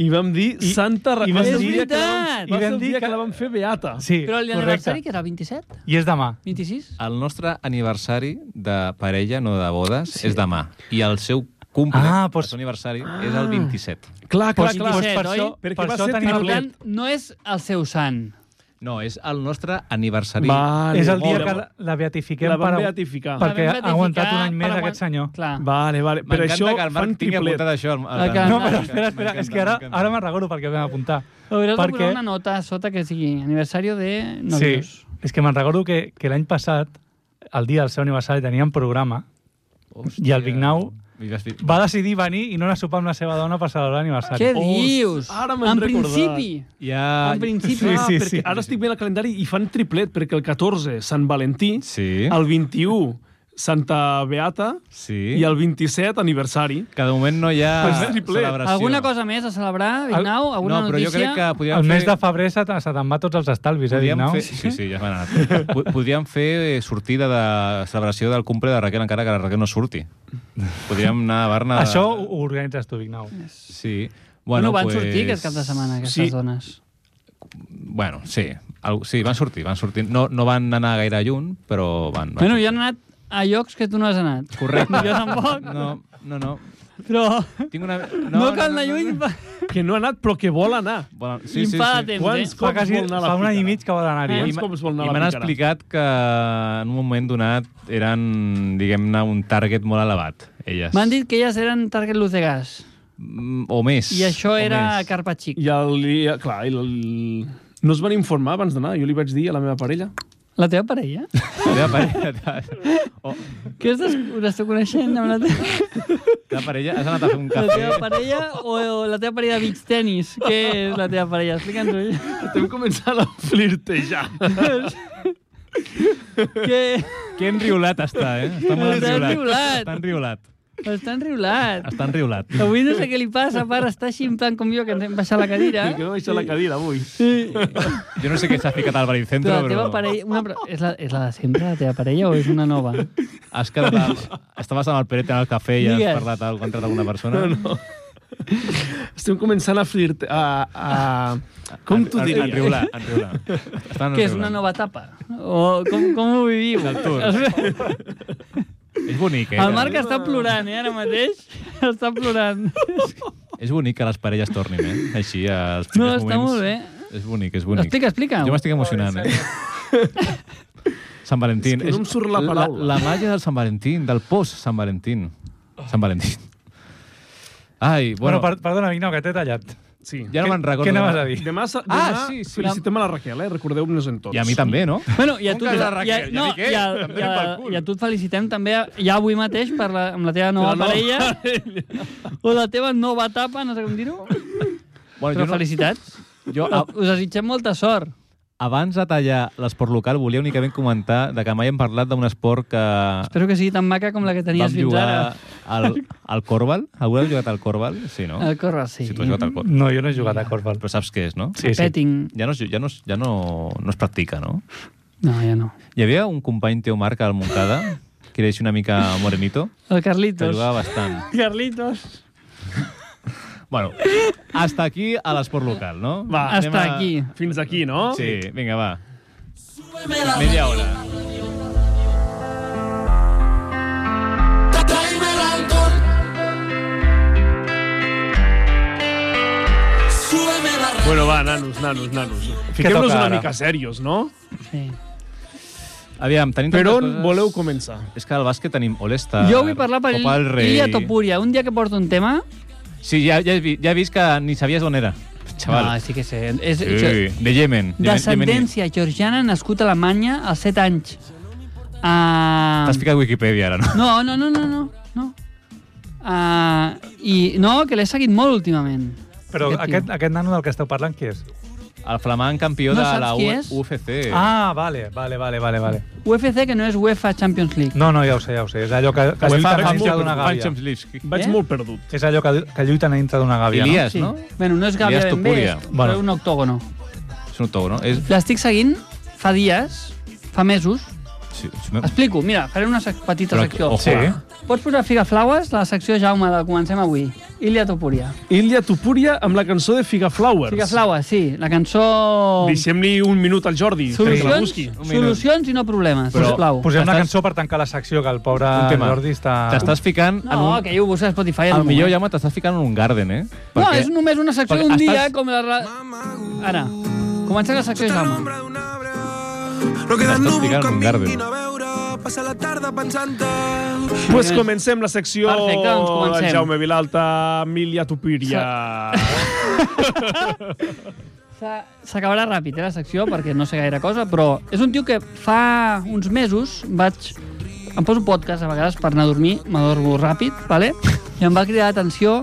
I vam dir I- Santa i Raquel. vam Va ser el dir- dia que la vam- veritat! Va I ser vam el dir dia que- que la vam fer beata. Sí, Però el dia correcte. d'aniversari, que era el 27? I és demà. 26? El nostre aniversari de parella, no de bodes, sí. és demà. I el seu cumple, Ah, ah, doncs- pues... el seu aniversari, és Ah. el 27. Clar, clar, Pues- clar. pues per oi? això- Perquè per va això ser tenim Per triplet. tant, no és el seu sant. No, és el nostre aniversari. Vale, És el dia molt que bé. la, la beatifiquem Ah, La van per- beatificar. per- Perquè La ha vam ratificar aguantat un any per més aguant- aquest senyor. Clar. Vale, vale. Per M'encanta això que el fan Marc tingui triplet. apuntat això. Ah, Al, que- No, al... però espera, espera, és que ara, ara m'ha regalo perquè ho vam apuntar. Hauràs de Perquè- posar una nota a sota que sigui aniversari de sí, novios. és que me'n recordo que, que l'any passat, el dia del seu aniversari, teníem programa, i el Vignau I vas dir- va decidir venir i no anar a sopar amb la seva dona per celebrar l'aniversari. Què Oh, dius? ara m'he en recordat. principi. Ja... En principi. ah, Sí, Sí, sí, sí. sí. Ara estic veient el calendari i fan triplet, perquè el 14, Sant Valentí, Sí. el 21, Santa Beata Sí. sí. i el 27 aniversari. Que de moment no hi ha Pues és triplet. celebració. Alguna cosa més a celebrar, Vignau? Alguna no, però notícia? jo crec que podríem El fer... mes de febrer se, te- se te'n va tots els estalvis, eh, Podríem Vignau? fer... Sí, sí, ja m'ha anat. Po- Podríem fer eh, sortida de celebració del cumple de Raquel, encara que la Raquel no surti. Podríem anar a Barna... Això ho ho organitzes tu, Vignau. Sí. Bueno, Bueno, van pues... sortir aquest cap de setmana, aquestes sí. dones. Bueno, sí. Al... Sí, van sortir, van sortir. No, no van anar gaire lluny, però van... van Bueno, sortir. jo han anat a llocs que tu no has anat. Correcte. Jo tampoc. No, no, no. Però Tinc una... no, no cal anar lluny. no. Que no ha anat, però que vol anar. Bueno, I sí, sí, em fa de sí. temps, Quants eh? Fa, cops quasi, vol anar a la fa un any i picara? mig que vol anar-hi. Eh? Eh? Ah. Quants cops vol anar a I la m'han picara? explicat que en un moment donat eren, diguem-ne, un target molt elevat, elles. eh? M'han dit que elles eren Target Luz de Gas. Mm, O més. I això o era més. Carpa Xic. I el... I, clar, i el, no es van informar abans d'anar. Jo li vaig dir a la meva parella. La teva parella? La teva parella, Què estàs, l'estàs coneixent amb la teva... la parella, has anat a fer un La teva cafè. parella o, o la teva parella de beach tennis? Què és la teva parella? Explica'ns-ho. Estem començant a flirtejar. Què... Que enriolat està, eh? Està molt Està enriolat. enriolat. Està enriolat. Està enriolat. Està enriolat. Avui no sé què li passa, pare, està així en plan com jo, que ens hem baixat la cadira. Que no deixa la cadira avui. Jo no sé què s'ha ficat al baricentro, Però la però... teva parella... Una, pre- és, la, és la de sempre, la teva parella, o és una nova? Has quedat... Amb... Estaves amb el Peret en el cafè i has Digues. parlat al contra d'alguna persona? No, no. Estem començant a flirte... A, a, com t'ho diria? Enriolat, enriolat. Estan Que és enriolant. una nova etapa? O com, com ho viviu? El tour. És bonic, eh? El Marc està plorant, eh, ara mateix. Està plorant. És bonic que les parelles tornin, eh? Així, als primers No, moments. està molt bé. És bonic, és bonic. Explica, explica. Jo m'estic emocionant, eh? Sant Valentín. És que no em surt la paraula. La, la màgia del Sant Valentín, del post-Sant Valentín. Sant Valentín. Ai, Bueno, bueno, per, perdona, Vignau, que t'he tallat. Sí. ja no me'n recordo. Què anaves a dir? Demà, sa- Ah, demà sí, sí. felicitem a la Raquel, eh? Recordeu-nos en tots. I a mi també, no? Bueno, i a Com tu, que és la i a, Raquel? no, Ja dic, eh? i, a, Em i, donen a, pel cul. i a tu et felicitem també, ja avui mateix, per la, amb la teva nova La nova parella, o la teva nova etapa, no sé com dir-ho, Bueno, però felicitats. Jo, a, Us desitgem molta sort. abans de tallar l'esport local, volia únicament comentar de que mai hem parlat d'un esport que Espero que sigui tan maca com la que tenies vam fins jugar ara. al, al Corbal. Algú heu jugat al Corbal? Sí, no? El corre, sí. Si tu has jugat al Corbal. No, jo no he jugat a Corval. Però saps què és, no? Sí, sí. Petting. Ja no, es- ja no, es- ja no, no es practica, no? No, ja no. Hi havia un company teu, Marc, al Montcada, que era així una mica morenito, El que Carlitos. jugava bastant. Carlitos. Bueno, hasta aquí a l'esport local, no? Va, Anem Hasta aquí. Fins aquí, no? Sí, vinga, va. Media hora. Tráeme el alcohol. Súbeme la radio. Bueno, va, nanos, nanos, nanos. Fiquem-nos toca una ara? mica serios, no? Sí. Aviam, tenim Per tantes on coses... voleu començar? És que al bàsquet tenim All-Star, Jo vull parlar per Ah, Copa del Rei... Lidia Topuria. Un dia que porto un tema... Sí, ja, ja, he vi- ja he vist que ni sabies on era, No, xaval. sí que sé. És, sí, de Yemen. Descendència georgiana, nascut a Alemanya als 7 anys. Ah, T'has ficat Wikipedia ara, no? No, no, no, no, no. no. Ah, I no, que l'he seguit molt últimament. Però Aquest tio. aquest, aquest nano del que esteu parlant, qui és? El flamant campió No de saps la qui és? UFC. Ah, vale, vale, vale, vale, vale. UFC, que no és UEFA Champions League. No, no, ja ho sé, ja ho sé. És allò que, que Ho he lluiten fet dintre molt d'una gàbia. Champions League. Vaig Eh? molt perdut. És allò que, que lluiten dintre d'una gàbia, no? Ilias, no? Bueno, no és Gàbia Ilias ben bé, Topuria. és Bueno. bueno. un octògono. És un autor, no? És... L'estic seguint fa dies, fa mesos. Sí, sí, me- Explico, mira, faré una sec petita Però- secció. ojo. eh? Sí. Pots posar Figaflaues, la secció Jaume de Comencem Avui. Ilia Topuria. Ilia Tupuria amb la cançó de Figa Flowers. Figaflaues, sí, la cançó... Deixem-li un minut al Jordi. perquè la Solucions, busqui. solucions i no problemes, Però- sisplau. Posem una T'estàs- cançó per tancar la secció, que el pobre Un tema. Jordi està... T'estàs ficant en Ah. No, un... que jo ho busco a Spotify. El al millor, moment. Jaume, t'estàs ficant en un garden, eh? No, és només una secció perquè d'un dia, estàs- com la... ra- Ara, comença la secció Jaume. Nombre d'un arbre. No queda Estàs núvol picant que em un garden. vinguin a veure. Passa la tarda pensant-te. Pues comencem la secció Perfecte, doncs comencem. del Jaume Vilalta, Emilia Tupiria. S'ha- S'acabarà ràpid, eh, la secció, perquè no sé gaire cosa, però és un tio que fa uns mesos vaig... Em poso podcast a vegades per anar a dormir, m'adormo ràpid, vale? i em va cridar l'atenció,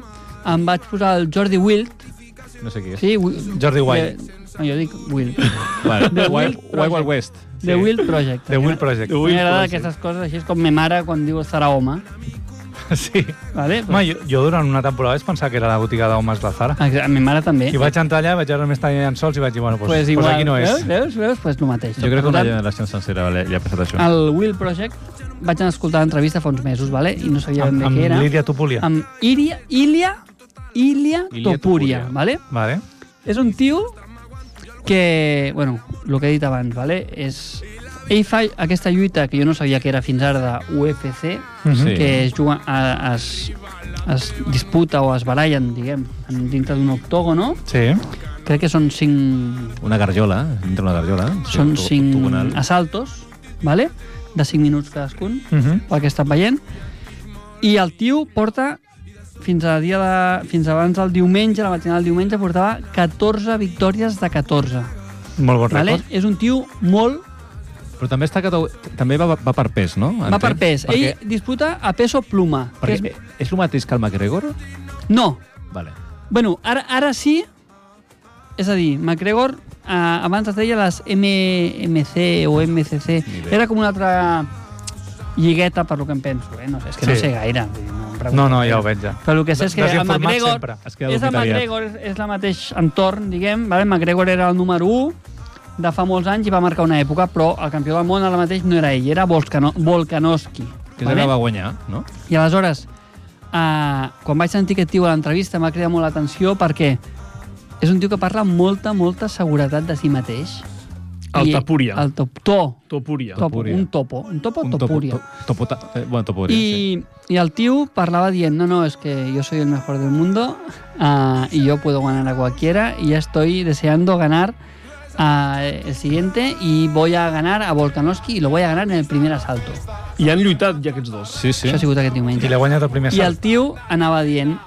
em vaig posar el Jordi Wild, No sé qui és. sí, Wi- Jordi Wild. Eh, no, jo dic Wild, Vale. The Wild, Wild Wild, Wild Project. West. The Sí. Will Project. The Will Project. Project. M'agrada aquestes coses, així és com me mare quan diu serà home. Sí. Vale? Home, jo, jo durant una temporada vaig pensar que era la botiga d'homes la Zara. Exacte, mi mare també. I vaig entrar allà, vaig veure més talla en sols i vaig dir, bueno, pues, pues, pues aquí no és. Veus, veus, veus? Pues el mateix. Jo crec que Per una tant, generació sencera li, li ha passat això. El Will Project vaig anar a escoltar l'entrevista fa uns mesos, vale? i no sabia ben Amb, bé què amb era. Lídia Tupulia. Amb Iria, Ilia, Ilia, Ilia Topuria, Topuria. vale? Vale. És un tio que, bueno, el que he dit abans, vale? és... Ell fa aquesta lluita que jo no sabia que era fins ara de UFC, Mhm. Sí. que es, juga, a, es, es disputa o es barallen, diguem, en- dintre d'un octògono. Sí. Crec que són cinc, Una garjola, dintre una garjola. sí, són octo- cinc octogonal. assaltos, vale? de 5 minuts cadascun, Uh -huh. pel que he estat veient. I el tio porta fins a dia de, fins abans del diumenge, la matinada del diumenge, portava 14 victòries de 14. Molt bon Vale? record. És un tio molt... Però també, està, categ- també va, va per pes, no? Va per pes. Perquè, Ell disputa a peso pluma. que perquè és... és el mateix que el McGregor? és... No. Vale. Bueno, ara, ara sí... És a dir, McGregor, eh, abans es deia les MMC o MCC. idea. Era com una altra lligueta, per lo que em penso. Eh? No sé, és que sí. no Sí. sé gaire. vull dir, em pregunto No, no, ja gaire. ho veig ja. Però el que sé és que el Desinformat McGregor... sempre. Es queda És el dormit aviat. McGregor, és, és la mateix entorn, diguem. Vale? McGregor era el número 1 de fa molts anys i va marcar una època, però el campió del món ara mateix no era ell, era Volcano, Volkanovski. Que és el que va guanyar, no? I aleshores, eh, quan vaig sentir aquest tio a l'entrevista m'ha cridat molt l'atenció perquè és un tio que parla amb molta, molta seguretat de si mateix. El I Tapuria. El top, to, Topuria. top, Topuria. un topo, un topo Un topuria. Topo, to, topota, eh, bueno, topuria, sí. Y, y el tío parlaba dient, no, no, es que yo soy el mejor del mundo ah, y yo puedo ganar a cualquiera y ya estoy deseando ganar ah, el siguiente y voy a ganar a Volkanovski y lo voy a ganar en el primer asalto. I han lluitat ja aquests dos. Sí, sí. Això ha sigut aquest diumenge. I l'he guanyat el primer Y el salt. tío andaba bien.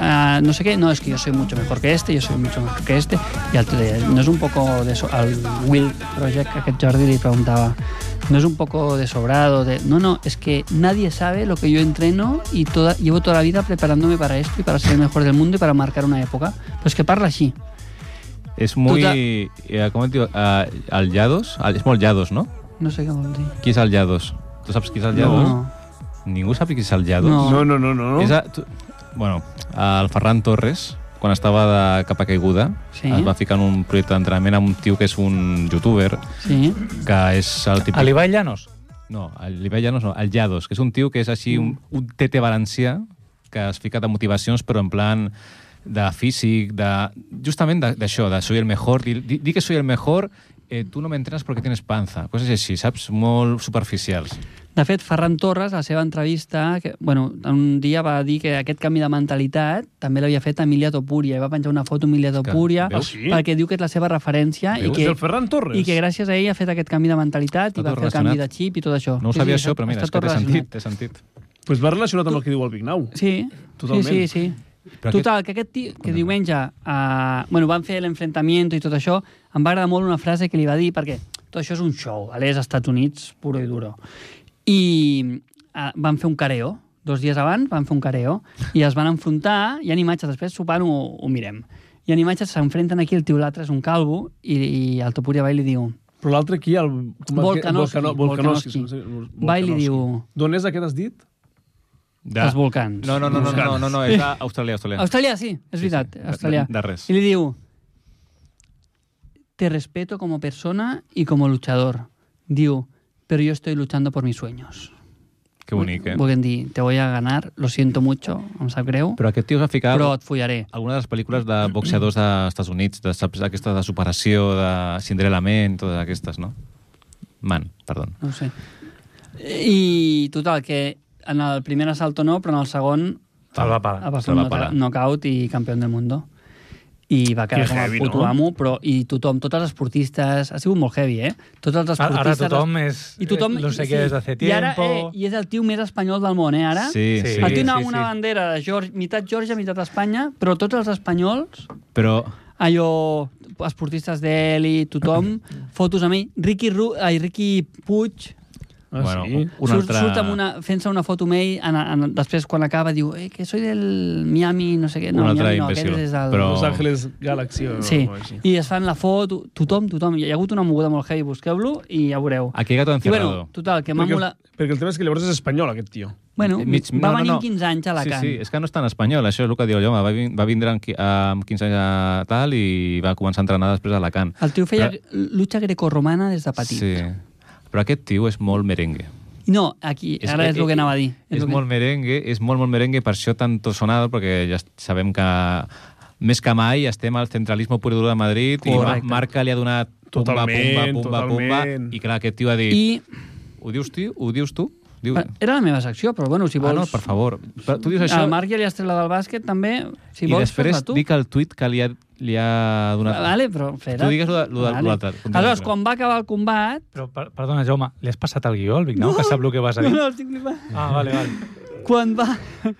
ah, no sé qué, no, es que yo soy mucho mejor que este, yo soy mucho mejor que este. Y al tío deia, no es un poco de so al Will Project, que aquest Jordi le preguntaba, no es un poco de sobrado, de... no, no, es que nadie sabe lo que yo entreno y toda, llevo toda la vida preparándome para esto y para ser el mejor del mundo y para marcar una época. Pues que parla así. És molt... Tota- Eh, com et diu? Eh, el Llados? El, és molt Llados, no? No sé qué vol dir. Qui és el Llados? Tu saps qui és el Llados? No, Ningú sap qui és el Llados? No. No, no, no, no. no. És a, tu, bueno, el Ferran Torres, quan estava de capa caiguda, Sí. es va ficar en un projecte d'entrenament amb un tio que és un youtuber, sí. que és el A típic... l'Ibai Llanos. No, l'Ibai Llanos no, el Llados, que és un tio que és així un, Mm. un tete valencià que es fica de motivacions, però en plan de físic, de, justament de- d'això, de, soy el mejor, di, di, di que soy el mejor, eh, tu no m'entrenes perquè tienes panza, coses així, saps? Molt superficials. De fet, Ferran Torres, a la seva entrevista, que, bueno, un dia va dir que aquest canvi de mentalitat també l'havia fet Emília Topuria, i va penjar una foto a Emília Topuria, veus? Ah, sí? perquè diu que és la seva referència i Veus? que, És el Ferran Torres. i que gràcies a ell ha fet aquest canvi de mentalitat Està i va tot fer el canvi de relacionat. xip i tot això. No ho Sí, sabia sí, això, està- però mira, està és que tot té sentit, relacionat. té sentit. pues va relacionat amb el que diu el Vignau. Sí, Totalment. sí, sí, sí. Però Total, que aquest tio, que diumenge, uh, bueno, van fer l'enfrentament i tot això, em va agradar molt una frase que li va dir, perquè tot això és un show, vale? és Estats Units, puro i duro. I uh, van fer un careo, dos dies abans van fer un careo, i es van enfrontar, hi ha imatges, després sopant ho, ho mirem. Hi ha imatges, s'enfronten aquí, el tio l'altre és un calvo, i, i el Topuria va i li diu, Però l'altre aquí, el... Volkanovski, Volcano- Volkanovski. Volkanovski. Volkanovski. Va i li diu- D'on és aquest has dit? De... Els volcans. No, no, no, no, no, no, no és d'Austràlia, Austràlia. Australià, sí, és veritat, sí, de- australià. de- de res. I li diu, te respeto como persona y como luchador. Diu, pero yo estoy luchando por mis sueños. Que bonic, eh? Volguem dir, te voy a ganar, lo siento mucho, em sap greu, però, Però aquest tio es va ficar però però... et follaré. alguna de les pel·lícules de boxeadors dels Estats Units, de, saps, aquesta de superació, de Cinderella Man, totes aquestes, no? Man, perdó. No ho sé. I total, que en el primer assalto no, però en el segon El va ha parar. passat Se la va un parar. knock- knockout i campió del mundo. I va quedar Que com heavy, el puto no? amo, però i tothom, tots els esportistes... Ha sigut molt heavy, eh? Tots els esportistes... Ara tothom és... I tothom... No sé què és hace I ara, eh, tiempo... i és el tio més espanyol del món, eh, ara? Sí, Sí. sí. El tio anava sí, amb una sí. bandera de George, mitat Georgia, mitat Espanya, però tots els espanyols, Però allò, esportistes d'eli, tothom, fotos amb ell. Ricky, Ru ai, Ricky Puig, Ah, bueno, sí? un surt, altre... surt amb una, fent-se una foto amb ell, en, en, després quan acaba diu eh, que soy del Miami, no sé què. No, Un altre Miami no, imbècil, aquest és el... però- Los Angeles Galaxy. o Sí, alguna cosa així. i es fan la foto, tothom, tothom. Hi ha hagut una moguda molt heavy, busqueu-lo i ja veureu. Aquí gato I encerrado. bueno, total, que m'ha Perquè, molat... perquè el tema és que llavors és espanyol, aquest tio. Bueno, Eh, Mig- va venir amb 15 anys a Sí, Alacant. sí, és que no és tan espanyol, això és el que diu l'home. Va, vin- va vindre amb, qui- amb 15 anys a tal i va començar a entrenar després a Alacant. El tio feia Però- lucha grecorromana des de petit. Eh. Sí. Però aquest tio és molt merengue. No, aquí, És ara que- és el que anava a dir. És, el que- molt merengue, és molt, molt merengue, per això tanto sonado, perquè ja sabem que més que mai estem al centralisme pur i dur de Madrid i Correcte. Ma- Marca li ha donat pumba, Totalment, pumba, pumba, totalment. pumba, i clar, aquest tio ha dit, I... I ho dius tu? Ho dius tu? Diu... era la meva secció, però bueno, si ah, vols... no, per favor. Però tu dius Això... això El Marc ja li has tret la del bàsquet, també. Si i vols, després fes-la tu. dic el tuit que li ha, li ha donat. Vale, però espera. Tu digues lo de- lo del- eh, lo del- continua, Aleshores, continua. quan va acabar el combat... Però, per, perdona, Jaume, li has passat el guió al Vignau, que sap el que vas a No, dir? no, estic flipant. Ah, vale, vale. Quan va...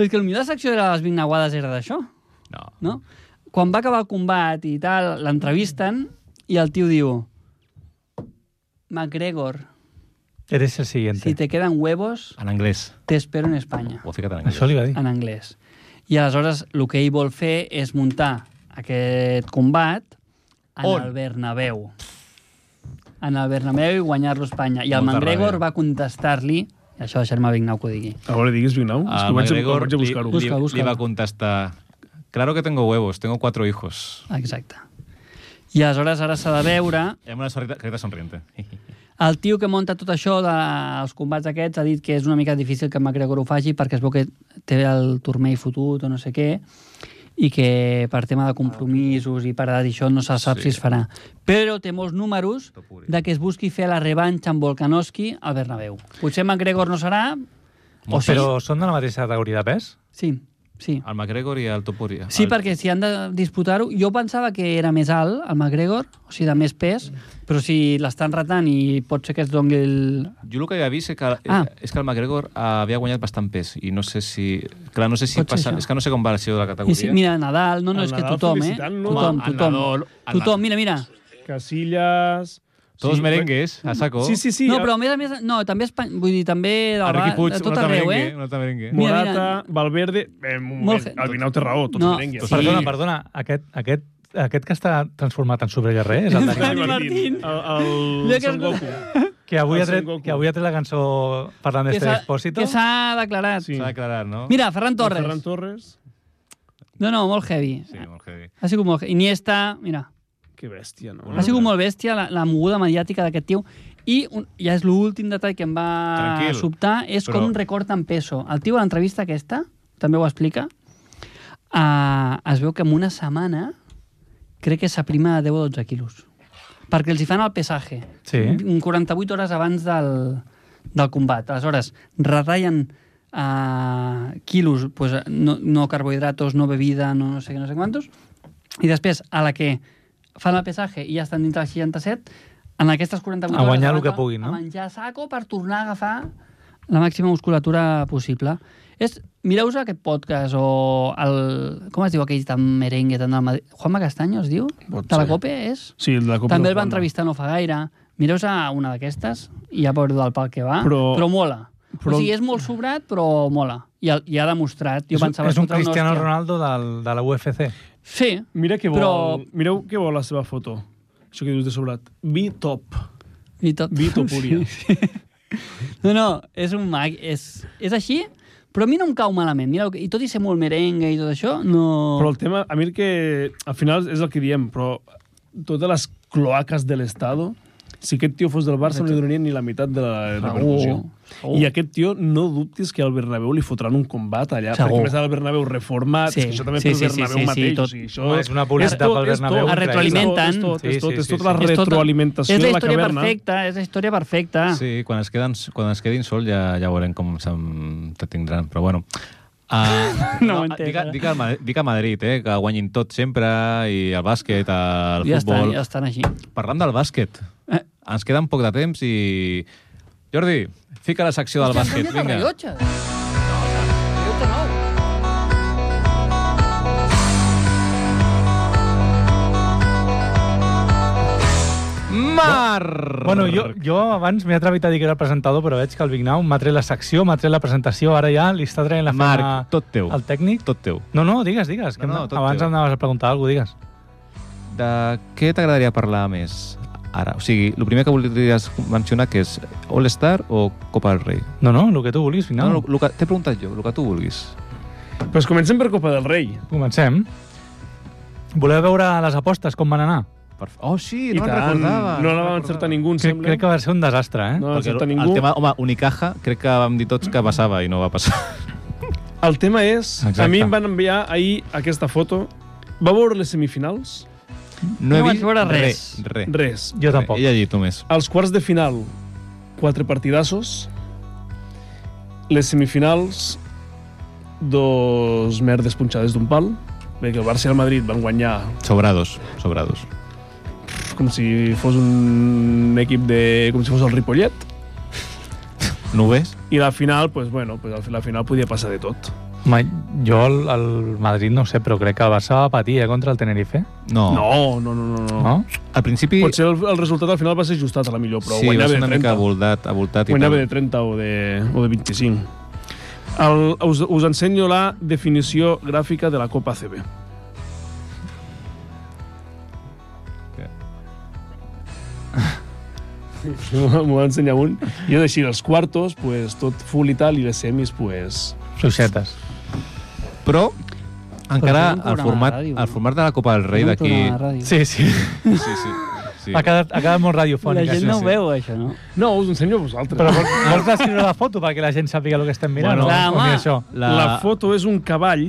És que potser la secció de les Vignaguades era d'això, No. no? Quan va acabar el combat i tal, l'entrevisten i el tio diu... McGregor, Eres el siguiente. si te quedan huevos, En anglès. te espero en España. Ho ha ficat en anglès. Això li va dir. en anglès. I aleshores el que ell vol fer és muntar aquest combat en On? el Bernabéu. En el Bernabéu i guanyar-lo a Espanya. I el Molta McGregor ràbia. va contestar-li, i això deixar-me Vignau que ho digui, A veure, digues Vignau. és A que vaig, a- McGregor vaig a buscar-ho. Ah, li, Busca, li, busca. li va contestar Claro que tengo huevos, tengo cuatro hijos. exacte. I aleshores ara s'ha de veure... Amb una sorrita, carita somriente. El tio que monta tot això dels combats aquests ha dit que és una mica difícil que McGregor ho faci perquè es veu que té el turmell fotut o no sé què i que per tema de compromisos i per edat i això no se sap sí. si es farà. Però té molts números de que es busqui fer la revanxa amb Volkanovski al Bernabéu. Potser McGregor no serà... O sí, Però són de la mateixa categoria de pes? sí, sí. El McGregor i el Topuria. Ah, Sí, el... perquè si han de disputar-ho... Jo pensava que era més alt, el McGregor, o sigui, de més pes, però si l'estan retant i pot ser que es doni el... Jo el que havia vist és que, ah. Ah. és que el McGregor havia guanyat bastant pes i no sé si... Clar, no sé si Pot ser passa... això. És que no sé com va la de la I categoria. si, mira, Nadal, no, no, El és que Nadal tothom, eh? felicitant-lo. Tothom, Home, el tothom. Nadal, el Tothom, mira, mira. Casillas... Tots Sí, merengues, a saco. Sí, sí, eh, sí. No, però a més a més, no, també Espa... vull dir, també de, la, Enriqui Puig, de un tot altre arreu, merengue, eh? un altre merengue. Mira, Morata, mira. Valverde... Eh, un moment, Molt fe- el Vinau té raó, tots No. merengues. Sí. Perdona, perdona, aquest, aquest, aquest que està transformat en superllarrer és el Dani, Dani Martín. El, el Jo que Son escolta- Goku. que avui, el ha tret, Son Goku. que avui ha tret la cançó parlant Que d'este s'ha- expósito. Que s'ha declarat. Sí. S'ha d'aclarar, no? Mira, Ferran Torres. Ferran Torres. No, no, molt heavy. Sí, molt heavy. Ha sigut molt heavy. Iniesta, mira, Que bèstia, no? ha sigut molt bèstia la, la moguda mediàtica d'aquest tio. I un, ja és l'últim detall que em va Tranquil, sobtar, és però- però... com recorten peso. El tio a l'entrevista aquesta, també ho explica, uh, es veu que en una setmana crec que s'aprima a 10 o 12 quilos. Perquè els hi fan el pesaje. Sí. Un 48 hores abans del, del combat. Aleshores, retallen uh, quilos, pues, no, no carbohidratos, no bebida, no, no sé què, no sé quantos, i després, a la que fan el pesaje i ja estan dintre del 67, en aquestes 48 A guanyar hores el que abans de- puguin, no? A menjar saco per tornar a agafar la màxima musculatura possible. És, mireu-vos aquest podcast o el... Com es diu aquell tan merengue, tan del Madrid? Juanma Castanyo es diu? Pot de la ser. Cope és? Sí, el de la Copa També el va Juanma. entrevistar no fa gaire. Mireu-vos a una d'aquestes i ja veureu del pal que va. Però- però mola. però- Però... O sigui, és molt sobrat, però mola. I, el- i ha demostrat. Jo és, un- pensava... és un "Fotrà una Cristiano hòstia". Ronaldo del, de la UFC. Sí. Mira que vol, Però- mireu que vol la seva foto. Això que dius de sobrat. B-top. I tot. B-topuria. No, no, és un mag, és, és així, però a mi no em cau malament. Mira, I tot i ser molt merengue i tot això, no... Però el tema, a mi el que... Al final és el que diem, però totes les cloaques de l'Estado, si aquest tio fos del Barça no li donarien ni la meitat de la repercussió. segur. I aquest tio no dubtis que al Bernabéu li fotran un combat allà, Segur. perquè a més al Bernabéu reformat, Sí, sí. que això també sí, sí, pel sí, sí, Bernabéu sí, sí, mateix. tot. o sigui, això Home, és una publicitat tot, pel és Bernabéu, tot, Es retroalimenten. És tot, és tot, és, Sí, tot, sí, és tota sí, la sí. És tota- retroalimentació és la de la història caverna. perfecta, és la història perfecta. Sí, quan es, queden, quan es quedin sol ja, ja veurem com se'n te tindran, però bueno. Uh, No ho entenc, eh. dic, a- ara. dic, a, Ma- dic a Madrid, eh, que guanyin tot sempre, i el bàsquet, el ja estan, futbol... ja estan així. Parlant del bàsquet, Eh. ens queda un poc de temps i... Jordi, fica la secció del bàsquet, vinga. Marc! Bueno, jo, jo abans m'he atrevit a dir que era el presentador, però veig que el Big Now m'ha tret la secció, m'ha tret la presentació, ara ja li està traient la feina Marc, tot teu. al tècnic. Tot teu. No, no, digues, digues. No, que no, em- tot abans teu. em anaves a preguntar alguna cosa, digues. De què t'agradaria parlar més ara? O sigui, el primer que voldries mencionar que és All-Star o Copa del Rei? No, no, el que tu vulguis, final. No, no, No, lo- lo que- t'he preguntat jo, el que tu vulguis. Pues comencem per Copa del Rei. Comencem. Voleu veure les apostes, com van anar? Per... Oh, sí, I no me'n tant. No la recordava. me'n va recordava. encertar ningú, em Crec, sembla. crec que va ser un desastre, eh? No va Perquè encertar el, ningú. el tema, home, Unicaja, crec que vam dir tots que passava i no va passar. El tema és... Exacte. A mi em van enviar ahir aquesta foto. Va veure les semifinals? No vaig veure res. Res. res. Res. Jo tampoc. He llegit només. Els quarts de final, quatre partidassos. Les semifinals, dos merdes punxades d'un pal. Bé, que el Barça i el Madrid van guanyar Sobrados, sobrados. pf, com si fos un equip de... com si fos el Ripollet. Nubes? I la final, pues, bueno, pues, al fi- la final podia passar de tot. Ma, jo el, el Madrid no ho sé, però crec que el Barça va patir eh, contra el Tenerife. No. No, no, no, no. no. No? Al principi... Potser el, el resultat al final va ser ajustat a la millor, però sí, va guanyava ser de una 30. mica voldat, voltat i guanyava tal. de 30 o de, o de 25. El, us, us ensenyo la definició gràfica de la Copa CB. M'ho va ensenyar un. I és així, els quartos, pues, tot full i tal, i les semis, pues... Fluixetes. Però encara Però és un el programa format, de ràdio, el no? format de la Copa del Rei d'aquí... Sí, Sí, sí. Sí, sí. sí. Ha quedat, ha quedat molt la radiofònic, gent això, no ho sí. veu, això, no? No, us ensenyo a vosaltres. Però vols, vols descriure la foto perquè la gent sàpiga el que estem mirant? o- Bueno, Clar, o què home. això? la... la foto és un cavall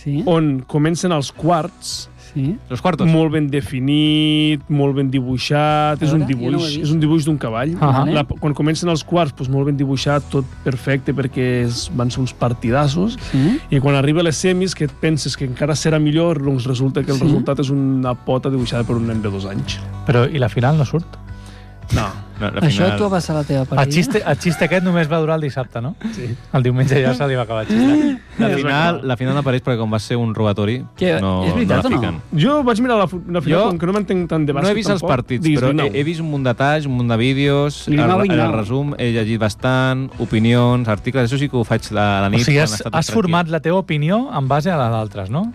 Sí? on comencen els quarts, Sí? Los quartos. molt ben definit, molt ben dibuixat, és un veure, jo no ho he dibuix, vist. és un dibuix d'un cavall. Ah. Ahà. La, quan comencen els quarts, doncs molt ben dibuixat, tot perfecte, perquè es, van ser uns partidassos. Sí? I quan arriba a les semis, que et penses que encara serà millor, doncs resulta que el Sí? sí? resultat és una pota dibuixada per un nen de dos anys. Però i la final no surt? No. No, la Això final- tu vas a la teva El parella? xiste, el xiste aquest només va durar el dissabte, no? Sí. El diumenge ja se li va acabar el xiste. La final, la final no apareix perquè com va ser un robatori, Que- no, és no veritat o la no? fiquen. Jo vaig mirar la, fu- la final, Jo com que no m'entenc tant de No bàsquet. he vist els tampoc, partits, dic, però he, "Vinau". he vist un munt de talls, un munt de vídeos, el, Vinau, el, vinau. resum, he llegit bastant, opinions, articles, això sí que ho faig a la O nit. sigui, quan has, està tot has tranquil. format la teva opinió en base a la d'altres, no?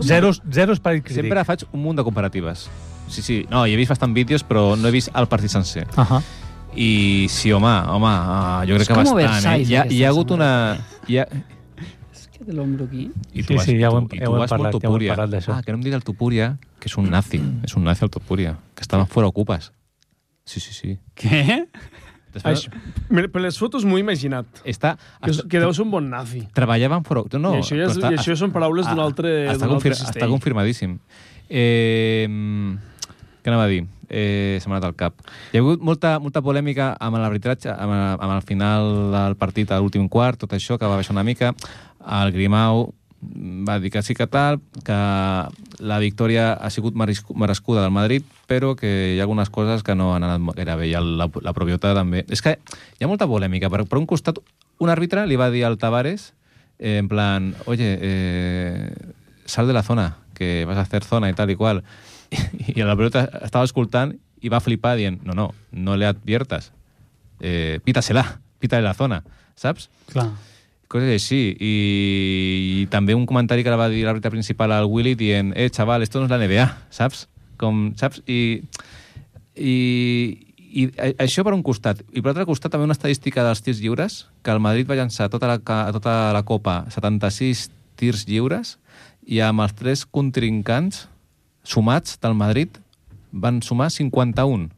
Zeros, zeros per crític. Sempre faig un munt de comparatives. Sí, sí, no, hi he vist bastant vídeos, però no he vist el partit sencer. Uh -huh. I sí, home, home, ah, jo crec És que com bastant, eh? Versailles, Hi ha, hi ha aquesta hagut una... Hi ha... És que té l'ombro aquí. I Sí, sí, ja ho hem- i ja ho hem vas molt parlat, ja ho hem Topúria. parlat d'això. Ah, que no em digui el Topúria, que és un nazi, és un nazi el Topúria, que estava fora ocupes. Sí, sí, sí. Què? Després, Això, mira, per les fotos m'ho he imaginat. està, Que, és- que deu ser un bon nazi. treballaven fora... No, I això ja però és- i això són paraules d'un ah, altre- d'un Està, altre confir cistell. està confirmadíssim. Eh, què anava a dir? Eh, S'ha anat al cap. Hi ha hagut molta, molta polèmica amb l'arbitratge, amb, el- amb el final del partit, a l'últim quart, tot això, que va baixar una mica. El Grimau va dir que sí que tal, que la victòria ha sigut meriscu- merescuda del Madrid, però que hi ha algunes coses que no han anat gaire bé, i el- la, la probiota també. És que hi ha molta polèmica. Per, per un costat, un àrbitre li va dir al Tavares eh, en plan, oye, eh, sal de la zona, que vas a hacer zona y tal y cual. Y la pelota estaba escoltant i va flipar dient, no, no, no le adviertas, eh, pítasela, pítale la zona, saps? Clar. Coses així. I, I també un comentari que la va dir l'àrbitre principal al Willy dient, eh, xaval, esto no es la NBA, saps? Com, saps? I, i, i a- això per un costat. I per altre costat també una estadística dels tirs lliures, que el Madrid va llançar tota la, ca- tota la Copa 76 tirs lliures i amb els tres contrincants sumats del Madrid van sumar 51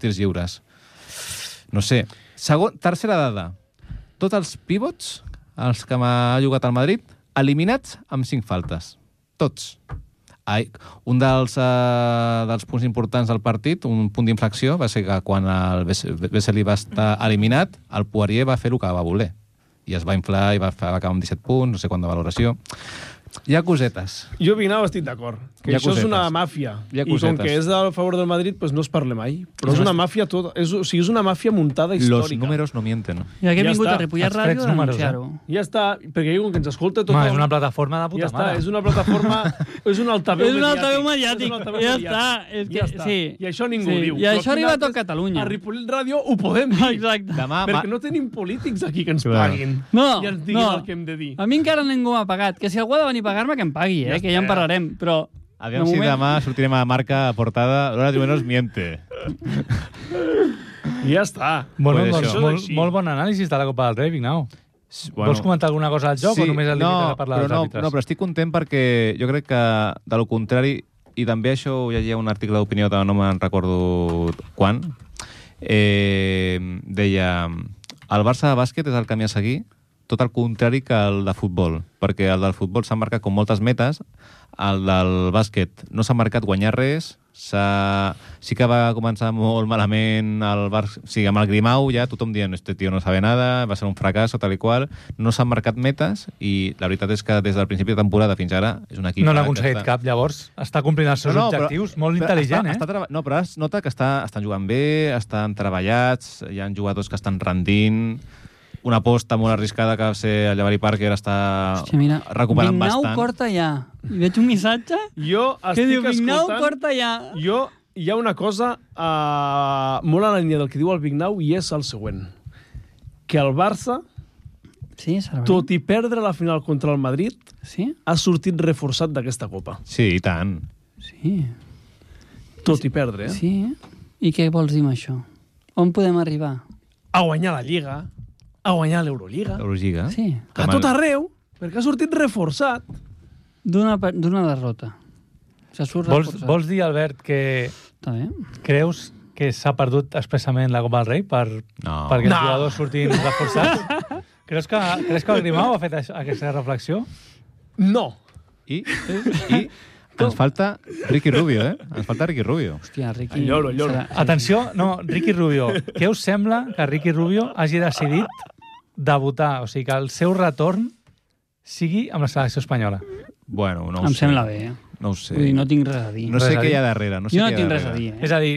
tirs lliures. No sé. Segon, tercera dada. Tots els pivots, els que m'ha jugat al Madrid, eliminats amb 5 faltes. Tots. Ai, un dels, uh, dels punts importants del partit, un punt d'inflexió, va ser que quan el Vesely va estar eliminat, el Poirier va fer el que va voler. I es va inflar i va, fa- va acabar amb 17 punts, no sé quant de valoració. Hi ha cosetes. Jo, Vignau, estic d'acord. Que Hi ha això és una cosetes. màfia. Hi I ha com cosetes. que és a favor del Madrid, pues no es parla mai. Però és una màfia tota. És, o sigui, és una màfia muntada Los històrica. números no mienten. I aquí hem Ja vingut està. a Ripollet Els Ràdio freds a números, denunciar-ho. Ja està, perquè jo, com que ens escolta tothom... Home, és una plataforma de puta ja està, mare. és una plataforma... és un altaveu És un altaveu mediàtic. mediàtic, ja està, és que- sí. I això ningú Sí, ho diu. i Però això aquí arriba a tot nosaltres, Catalunya. A Ripollet Ràdio ho podem dir. Exacte. Ah, Demà, ma... Perquè no tenim polítics aquí que ens Clar. paguin. No, Ah. I ens diguin no. el que hem de dir. A mi encara ningú m'ha pagat. Que si algú ha de venir a pagar-me, que em pagui, eh? que ja en parlarem. Però, Aviam de si moment- demà sortirem a la marca a portada Los números miente. I ja està. Doncs Molt, Pues bon, molt, això. Això molt, és molt bon anàlisi de la Copa del Rei, Vignau. Bueno, Vols comentar alguna cosa al joc o només el limites a parlar però dels no, àrbitres? No, però estic content perquè jo crec que, de lo contrari, i també això ho llegia un article d'opinió que no me'n recordo quan, eh, deia el Barça de bàsquet és el camí a seguir tot el contrari que el de futbol, perquè el del futbol s'ha marcat com moltes metes, el del bàsquet no s'ha marcat guanyar res, s'ha- sí que va començar molt malament el Bar... o sigui, amb el Grimau ja tothom dient este tio no sabe nada, va ser un fracàs o tal i qual, no s'han marcat metes i la veritat és que des del principi de temporada fins ara és un equip... No n'ha que aconseguit està- cap, llavors. Està complint els seus objectius. molt intel·ligent, està, eh? Està treba... No, però es nota que està, estan jugant bé, estan treballats, hi ha jugadors que estan rendint, una aposta molt arriscada que va ser el Llevari Parker està Hòstia, mira, recuperant Vignau bastant. corta ja. I veig un missatge Jo que estic diu Vignau escoltant... corta ja. Jo, hi ha una cosa uh, molt a la línia del que diu el Vignau i és el següent. Que el Barça, Sí, Cervell? tot i perdre la final contra el Madrid, Sí? ha sortit reforçat d'aquesta copa. Sí, i tant. Sí. Tot i perdre, eh? Sí. Sí. I què vols dir amb això? On podem arribar? A guanyar la Lliga, a guanyar l'Euroliga, L'Euroliga. Sí. a tot arreu, perquè ha sortit reforçat. D'una per- d'una derrota. Se surt Vols, reforçat. vols dir, Albert, que Està bé. creus que s'ha perdut expressament la Copa del Rei per, No. perquè els No. jugadors surtin reforçats? creus, que, creus que el Grimau ha fet això, aquesta reflexió? No. I, i ens falta Ricky Rubio, eh? Ens falta Ricky Rubio. Hòstia, Riqui... El lloro, el lloro. serà- Atenció, no, Ricky Rubio. Què us sembla que Ricky Rubio hagi decidit debutar? O sigui, que el seu retorn sigui amb la selecció espanyola. Bueno, no ho Em sé. sembla bé, eh? No ho Sí. sé. Vull dir, no tinc res a dir. no res sé a què dir. hi ha darrere. No sé jo què no hi ha tinc res darrere. a dir, eh? És a dir,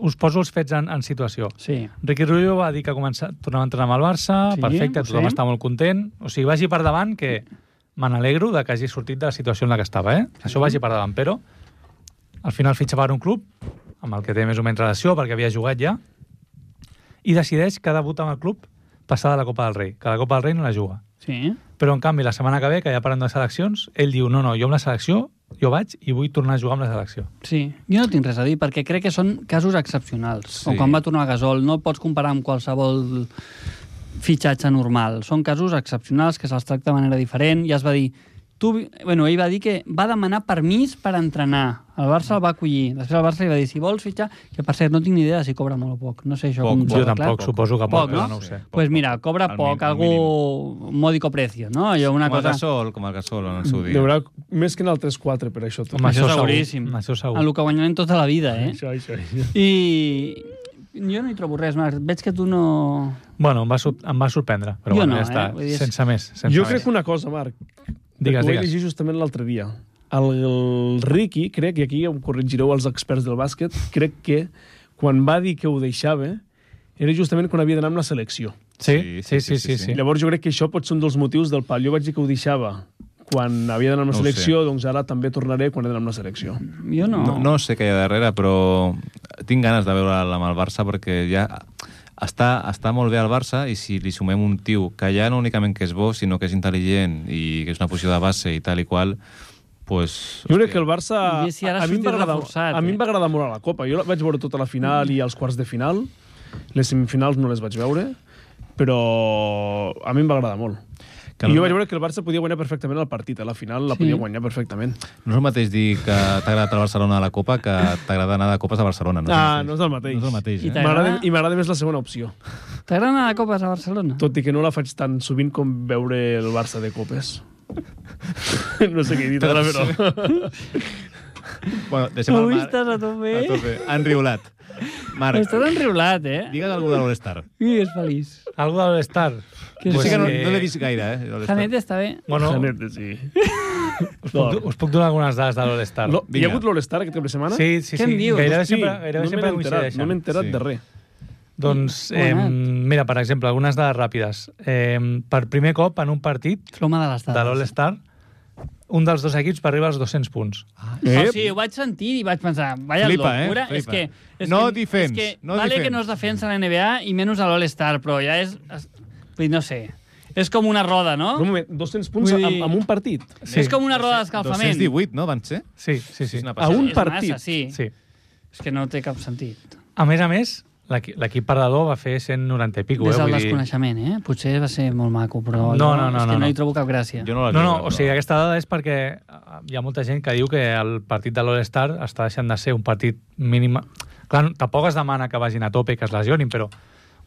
us poso els fets en, en situació. Sí. Ricky Rubio va dir que comença, tornava a entrenar amb el Barça, Sí, sí, perfecte, ho tothom sé. està molt content. O sigui, vagi per davant que me n'alegro de que hagi sortit de la situació en la que estava, eh? Això vagi per davant, però al final fitxa per un club amb el que té més o menys relació perquè havia jugat ja i decideix que debuta amb el club passada la Copa del Rei, que la Copa del Rei no la juga. Sí. Però, en canvi, la setmana que ve, que ja parlem de seleccions, ell diu, no, no, jo amb la selecció, jo vaig i vull tornar a jugar amb la selecció. Sí, jo no tinc res a dir, perquè crec que són casos excepcionals. Sí. O Sí. quan va tornar a Gasol, no el pots comparar amb qualsevol fitxatge normal. Són casos excepcionals que se'ls tracta de manera diferent. Ja es va dir... Tu, vi- bueno, ell va dir que va demanar permís per entrenar. El Barça el va acollir. Després el Barça li va dir, si vols fitxar... Que, per cert, no tinc ni idea de si cobra molt o poc. No sé això Poc, com poc. s'ha Jo clar, tampoc, arreglat. suposo que Poc, poc, però no? no ho sé. pues mira, cobra Al poc, mínim, al algú módico precio, no? Allò, una com el cosa... Gasol, com el Gasol en el seu dia. Deurà més que en el 3-4 per això. Tot. Home, Això, Això segur, seguríssim. això segur. En el que guanyarem tota la vida, eh? Això, això, això. I jo no hi trobo res, Marc. Veig que tu no... Bueno, em va, sor em va sorprendre, però Jo bueno, no, ja està, eh? Vull dir, és- sense més. Sense Jo més. crec una cosa, Marc, que Digues, ho vaig digues. llegir justament l'altre dia. El, el Ricky, crec, i aquí em corregireu els experts del bàsquet, crec que quan va dir que ho deixava era justament quan havia d'anar amb la selecció. Sí, sí, sí, sí. sí, Sí. Llavors jo crec que això pot ser un dels motius del pal. Jo vaig dir que ho deixava quan havia d'anar amb Oh, la No ho selecció, doncs ara també tornaré quan he d'anar amb la selecció. Jo no. No, no sé què hi ha darrere, però tinc ganes de veure'l amb el Barça perquè ja està, està molt bé al Barça i si li sumem un tiu que ja no únicament que és bo, sinó que és intel·ligent i que és una posició de base i tal i qual, pues, Jo crec que el Barça... I si ara a, mi em va sortís agradar, reforçat, a mi em eh? va agradar molt a la Copa. Jo la vaig veure tota la final i els quarts de final. Les semifinals no les vaig veure, però a mi em va agradar molt. Que I no- jo vaig veure que el Barça podia guanyar perfectament el partit. A la final la Sí. podia guanyar perfectament. no és el mateix dir que t'ha agradat el Barcelona a la Copa que t'agrada anar de copes a Barcelona. No Ah, és no el és el mateix. mateix. No és el mateix, I eh? tant. M'agrada- T'agrada? I m'agrada més la segona opció. T'agrada anar de copes a Barcelona? Tot i que no la faig tan sovint com veure el Barça de copes. no sé què he dit ara, però... Bueno, deixem el Avui Marc. estàs a tope. A tope. Enriolat. Marc, Estàs enriulat, eh? digues alguna cosa de l'All-Star. I és feliç. Algo de l'estar. Que Jo Pues sí que no, que- no l'he vist gaire, eh? No l'he estat. Janet està bé. Bueno, Janet, sí. us puc, us puc donar algunes dades de l'All-Star. Lo, hi vinga. ha hagut l'All-Star aquest cap de setmana? Sí, sí, Què sí. em dius? Gairebé Hosti, sempre, gairebé no sempre me n'he enterat, coincideixen. no m'he enterat Sí. de res. Doncs, eh, Bonat. mira, per exemple, algunes dades ràpides. Eh, per primer cop en un partit És l'home de les de dades. l'All-Star, un dels dos equips va arribar als 200 punts. O sigui, ho vaig sentir i vaig pensar, vaya Eh? Flipa, eh? locura. És Flipa. que, és No que, defense, És que no vale defense. que no es defensa a la NBA i menys a l'All-Star, però ja és... és vull dir, no sé. És com una roda, no? Però un moment, 200 punts Vull dir- amb, amb un partit? Sí, És com una roda d'escalfament. 218, no, van ser? sí, sí. sí. És una A un És partit? Massa, sí. sí. És que no té cap sentit. A més a més, l'equi- l'equip perdedor va fer 190 i pico. Des eh? del Vull dir- desconeixement, eh? Potser va ser molt maco, però No, jo- no, no, és que no, no, no. hi trobo cap gràcia. Jo no la No, no, o sigui, aquesta dada és perquè eh, hi ha molta gent que diu que el partit de l'All-Star està deixant de ser un partit mínima... Clar, no- tampoc es demana que vagin a tope i que es lesionin, però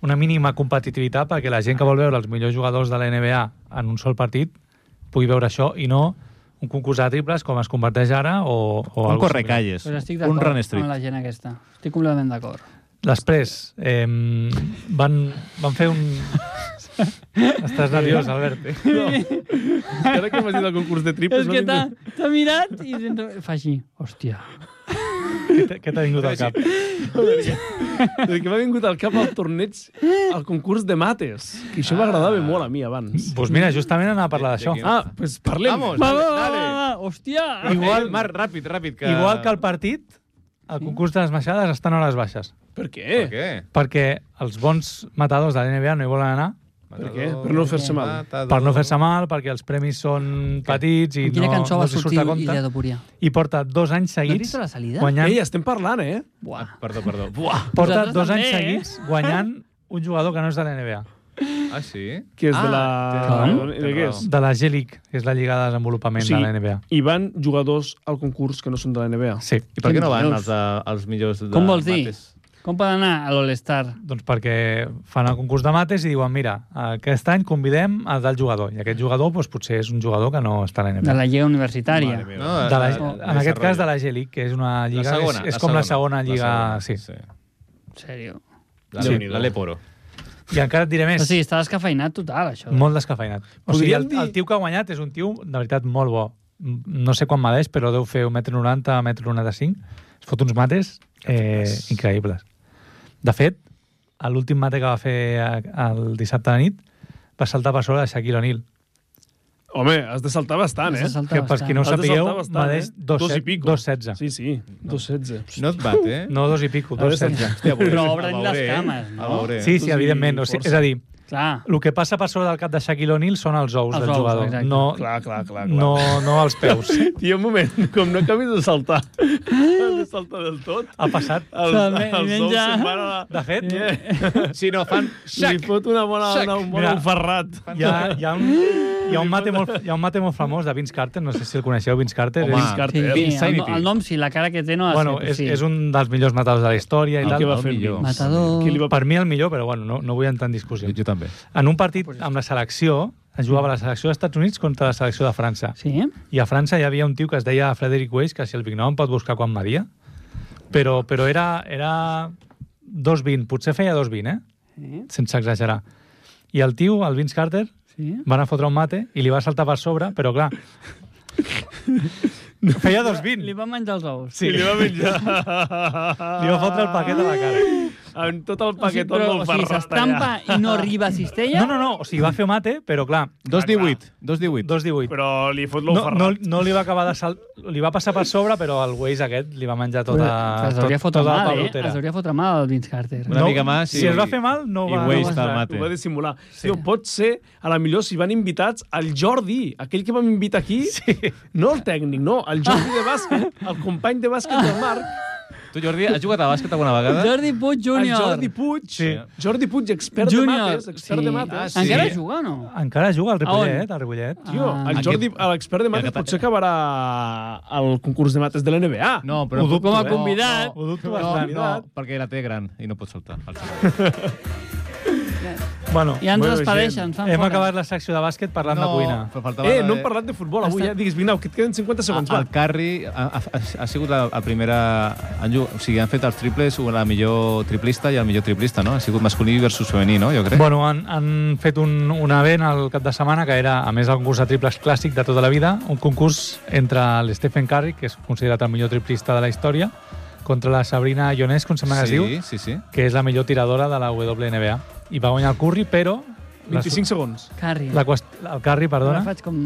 una mínima competitivitat perquè la gent que vol veure els millors jugadors de la NBA en un sol partit pugui veure això i no un concurs de triples com es converteix ara o... o Un algo correcalles, Però un estic d'acord run amb street. la gent aquesta. Estic completament d'acord. similar. Després, eh, van, van fer un... Estàs nerviós, Albert. Ara que m'has dit el concurs de triples... És que no t'ha tinc- t'ha mirat i sento- fa així. Hòstia. Què t'ha- Què t'ha vingut al cap? Vull dir que m'ha vingut al cap el torneig, el concurs de mates, que això m'agradava molt a mi abans. Doncs pues mira, justament anava a parlar d'això. Ah, doncs pues parlem. Vamos. Va, va, va, Dale. va, va. Hòstia. Eh, Igual, Marc, ràpid, ràpid. Que... Eh, Igual que el partit, el concurs de les baixades estan a hores baixes. Per què? Per què? Perquè els bons matadors de la NBA no hi volen anar Per què? Per no fer-se mal. per no fer-se mal, perquè els premis són petits i Quina no, cançó no va els hi surt sortir a compte. Ilea Dopuria? I porta dos anys No has seguits vist la salida? guanyant... Ei, estem parlant, eh? Buah. Ah, Perdó, perdó. Buah! porta Vosaltres dos també, anys eh? seguits guanyant un jugador que no és de la NBA, Ah, sí? Ah, Que és de la... Com? De què és? de la G-League, que és la lliga de desenvolupament O sigui- de la NBA. Hi van jugadors al concurs que no són de la NBA. Sí, I per què no van Quins els, eh, els millors de Com vols dir? mates? Com pot anar a l'All-Star? doncs perquè fan el concurs de mates i diuen, mira, aquest any convidem el del jugador, i aquest jugador doncs, potser és un jugador que no està a la NBA. De la Lliga Universitària. No, De la, eh, en aquest cas de desarrollo. la G-League, que és una lliga... La segona, és, és com la segona lliga, la sí. segona, En sèrio. La, Sí. la Leporo. I encara et diré més, O sigui, està descafeinat total, això. molt descafeinat. O sigui, Podríem el, dir- el tio que ha guanyat és un tio, de veritat, molt bo. M- No sé quan medeix, però deu fer 1,90 m, 1,95 m. Es fot uns mates eh, increïbles. De fet, l'últim mate que va fer eh, el dissabte a la nit va saltar per sobre de Shaquille O'Neal. Home, has de saltar bastant, eh? S'ha saltat Que, per bastant. qui no ho Has de sapigueu, saltar bastant, medeix eh? Dos i pico. 2,16. Sí, sí, 2.16. No et bat, eh? No, dos i pico, Ha de ser- 2,16. Hòstia, Però el obren veuré, les eh? cames, no? El veuré. Sí, sí, Dos i evidentment. O sigui, és força. a dir, Clar. El que passa per sobre del cap de Shaquille O'Neal són els ous Els del ous, jugador, exacte. no, Ah, Clar, clar, clar, clar. no, no els peus. Tio, un moment, com no acabis de saltar, has de saltar del tot, Ha passat. els, Se'l me- els ous menja. se'n van a la... De fet, Si no fan... Li fot una bona, una, un bon Mira. enferrat. hi ha, hi ha, un, hi ha, un mate molt, hi ha un mate molt famós de Vince Carter, no sé si el coneixeu, Vince Carter. Home, és, Sí, Carter. sí, el, Insanity. el nom sí, la cara que té no ha de bueno, ser, és, sí. és un dels millors matadors de la història i El tal. que va el fer el millor. Vince. Matador... Qui li va... Per mi el millor, però bueno, no, no vull entrar en discussió. Jo també. En un partit amb la selecció, es jugava la selecció dels Estats Units contra la selecció de França. Sí? I a França hi havia un tio que es deia Frederick Weiss, que si el vignom pot buscar quan media, però, però era, era 2,20, potser feia 2,20, eh? Sí. Sense exagerar. I el tio, el Vince Carter, Sí? va anar a fotre un mate i li va saltar per sobre, però clar... feia Li 2,20. van menjar els ous. Sí, Li va menjar... li va fotre el paquet a la cara. Amb tot el O sigui, paquetó però, del o sigui, ferrat s'estampa allà. i no arriba a cistella? No, no, no, o sigui, va fer un mate, però clar, 2.18. 2.18. 2,18. Però li fot No, l'enferrat. no, no li va acabar de salt... Li va passar per sobre, però el Weiss aquest li va menjar tota, Els tot, hauria fotre tota la mal, eh? pelotera. Els hauria fotre mal, el Vince Carter. Una mica més Si i- es va fer mal, no i va... Weiss no va te'l estar. mata. Ho va dissimular. Sí. Tio, pot ser, a la millor, si van invitats, el Jordi, aquell que vam invitar aquí, sí. no el tècnic, no, el Jordi de bàsquet, el company de bàsquet del Marc, Tu, Jordi, has jugat a bàsquet alguna vegada? Jordi Puig el Júnior. Ah, Jordi Puig, sí. Jordi Puig, expert Júnior. de mates, expert de mates. Ah, sí. Encara juga o no? Encara juga al on? Ripollet, al Ripollet. Tio, Ah. el Jordi, l'expert de mates, potser acabarà al concurs de mates de l'NBA. No, però... Ho dubto, Com a eh? convidat. Ho dubto No, bastant. no, perquè la té gran i no pot saltar. Bueno, Ja ens Bueno, despedeixen, ens fan hem fora. acabat la secció de bàsquet parlant de cuina. però faltava... Eh, la no de- hem parlat de futbol avui, Està- ja. Digues, Vinau, que et queden 50 segons, Ah, va. El Carri ha, ha, ha sigut la, la primera... Han, ju- o sigui, han fet els triples, la millor triplista i el millor triplista, no? Ha sigut masculí versus femení, no? Jo crec. Bueno, han, han fet un, un event al cap de setmana que era, a més, el concurs de triples clàssic de tota la vida, un concurs entre l'Stephen Curry, que és considerat el millor triplista de la història, contra la Sabrina Ionescu, em sembla que es diu, sí, sí, sí. que és la millor tiradora de la WNBA. I va guanyar el Curry, però... la- 25 segons. Carri. La qüest... El Curry, Ara perdona. faig com,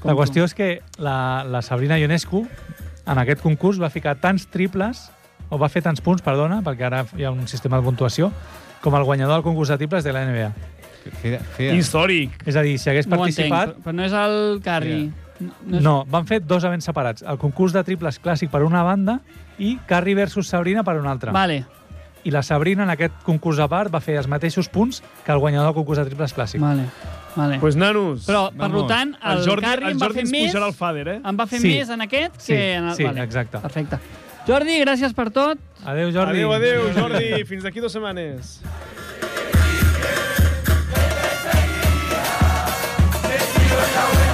com La qüestió és que la, la Sabrina Ionescu en aquest concurs va ficar tants triples o va fer tants punts, perdona, perquè ara hi ha un sistema de puntuació, com el guanyador del concurs de triples de la NBA. Feia, feia. Històric. És a dir, si hagués tu. No ho entenc, participat... però- però no és el Carri. No, No, van fer dos events separats. El concurs de triples clàssic per una banda i Carrie versus Sabrina per una altra. Vale, I la Sabrina en aquest concurs a part va fer els mateixos punts que el guanyador del concurs de triples clàssic. vale, vale. Pues nanos, Però, per vamos. tant, el, el Jordi, Carri el em va Jordi fer ens més... pujarà el fader, eh? Em va fer Sí. més en aquest Sí, que en el... sí, exacte. Perfecte. Jordi, gràcies per tot. Adéu, Jordi. Adéu, adéu, Jordi. Fins d'aquí dues setmanes. Quiero saber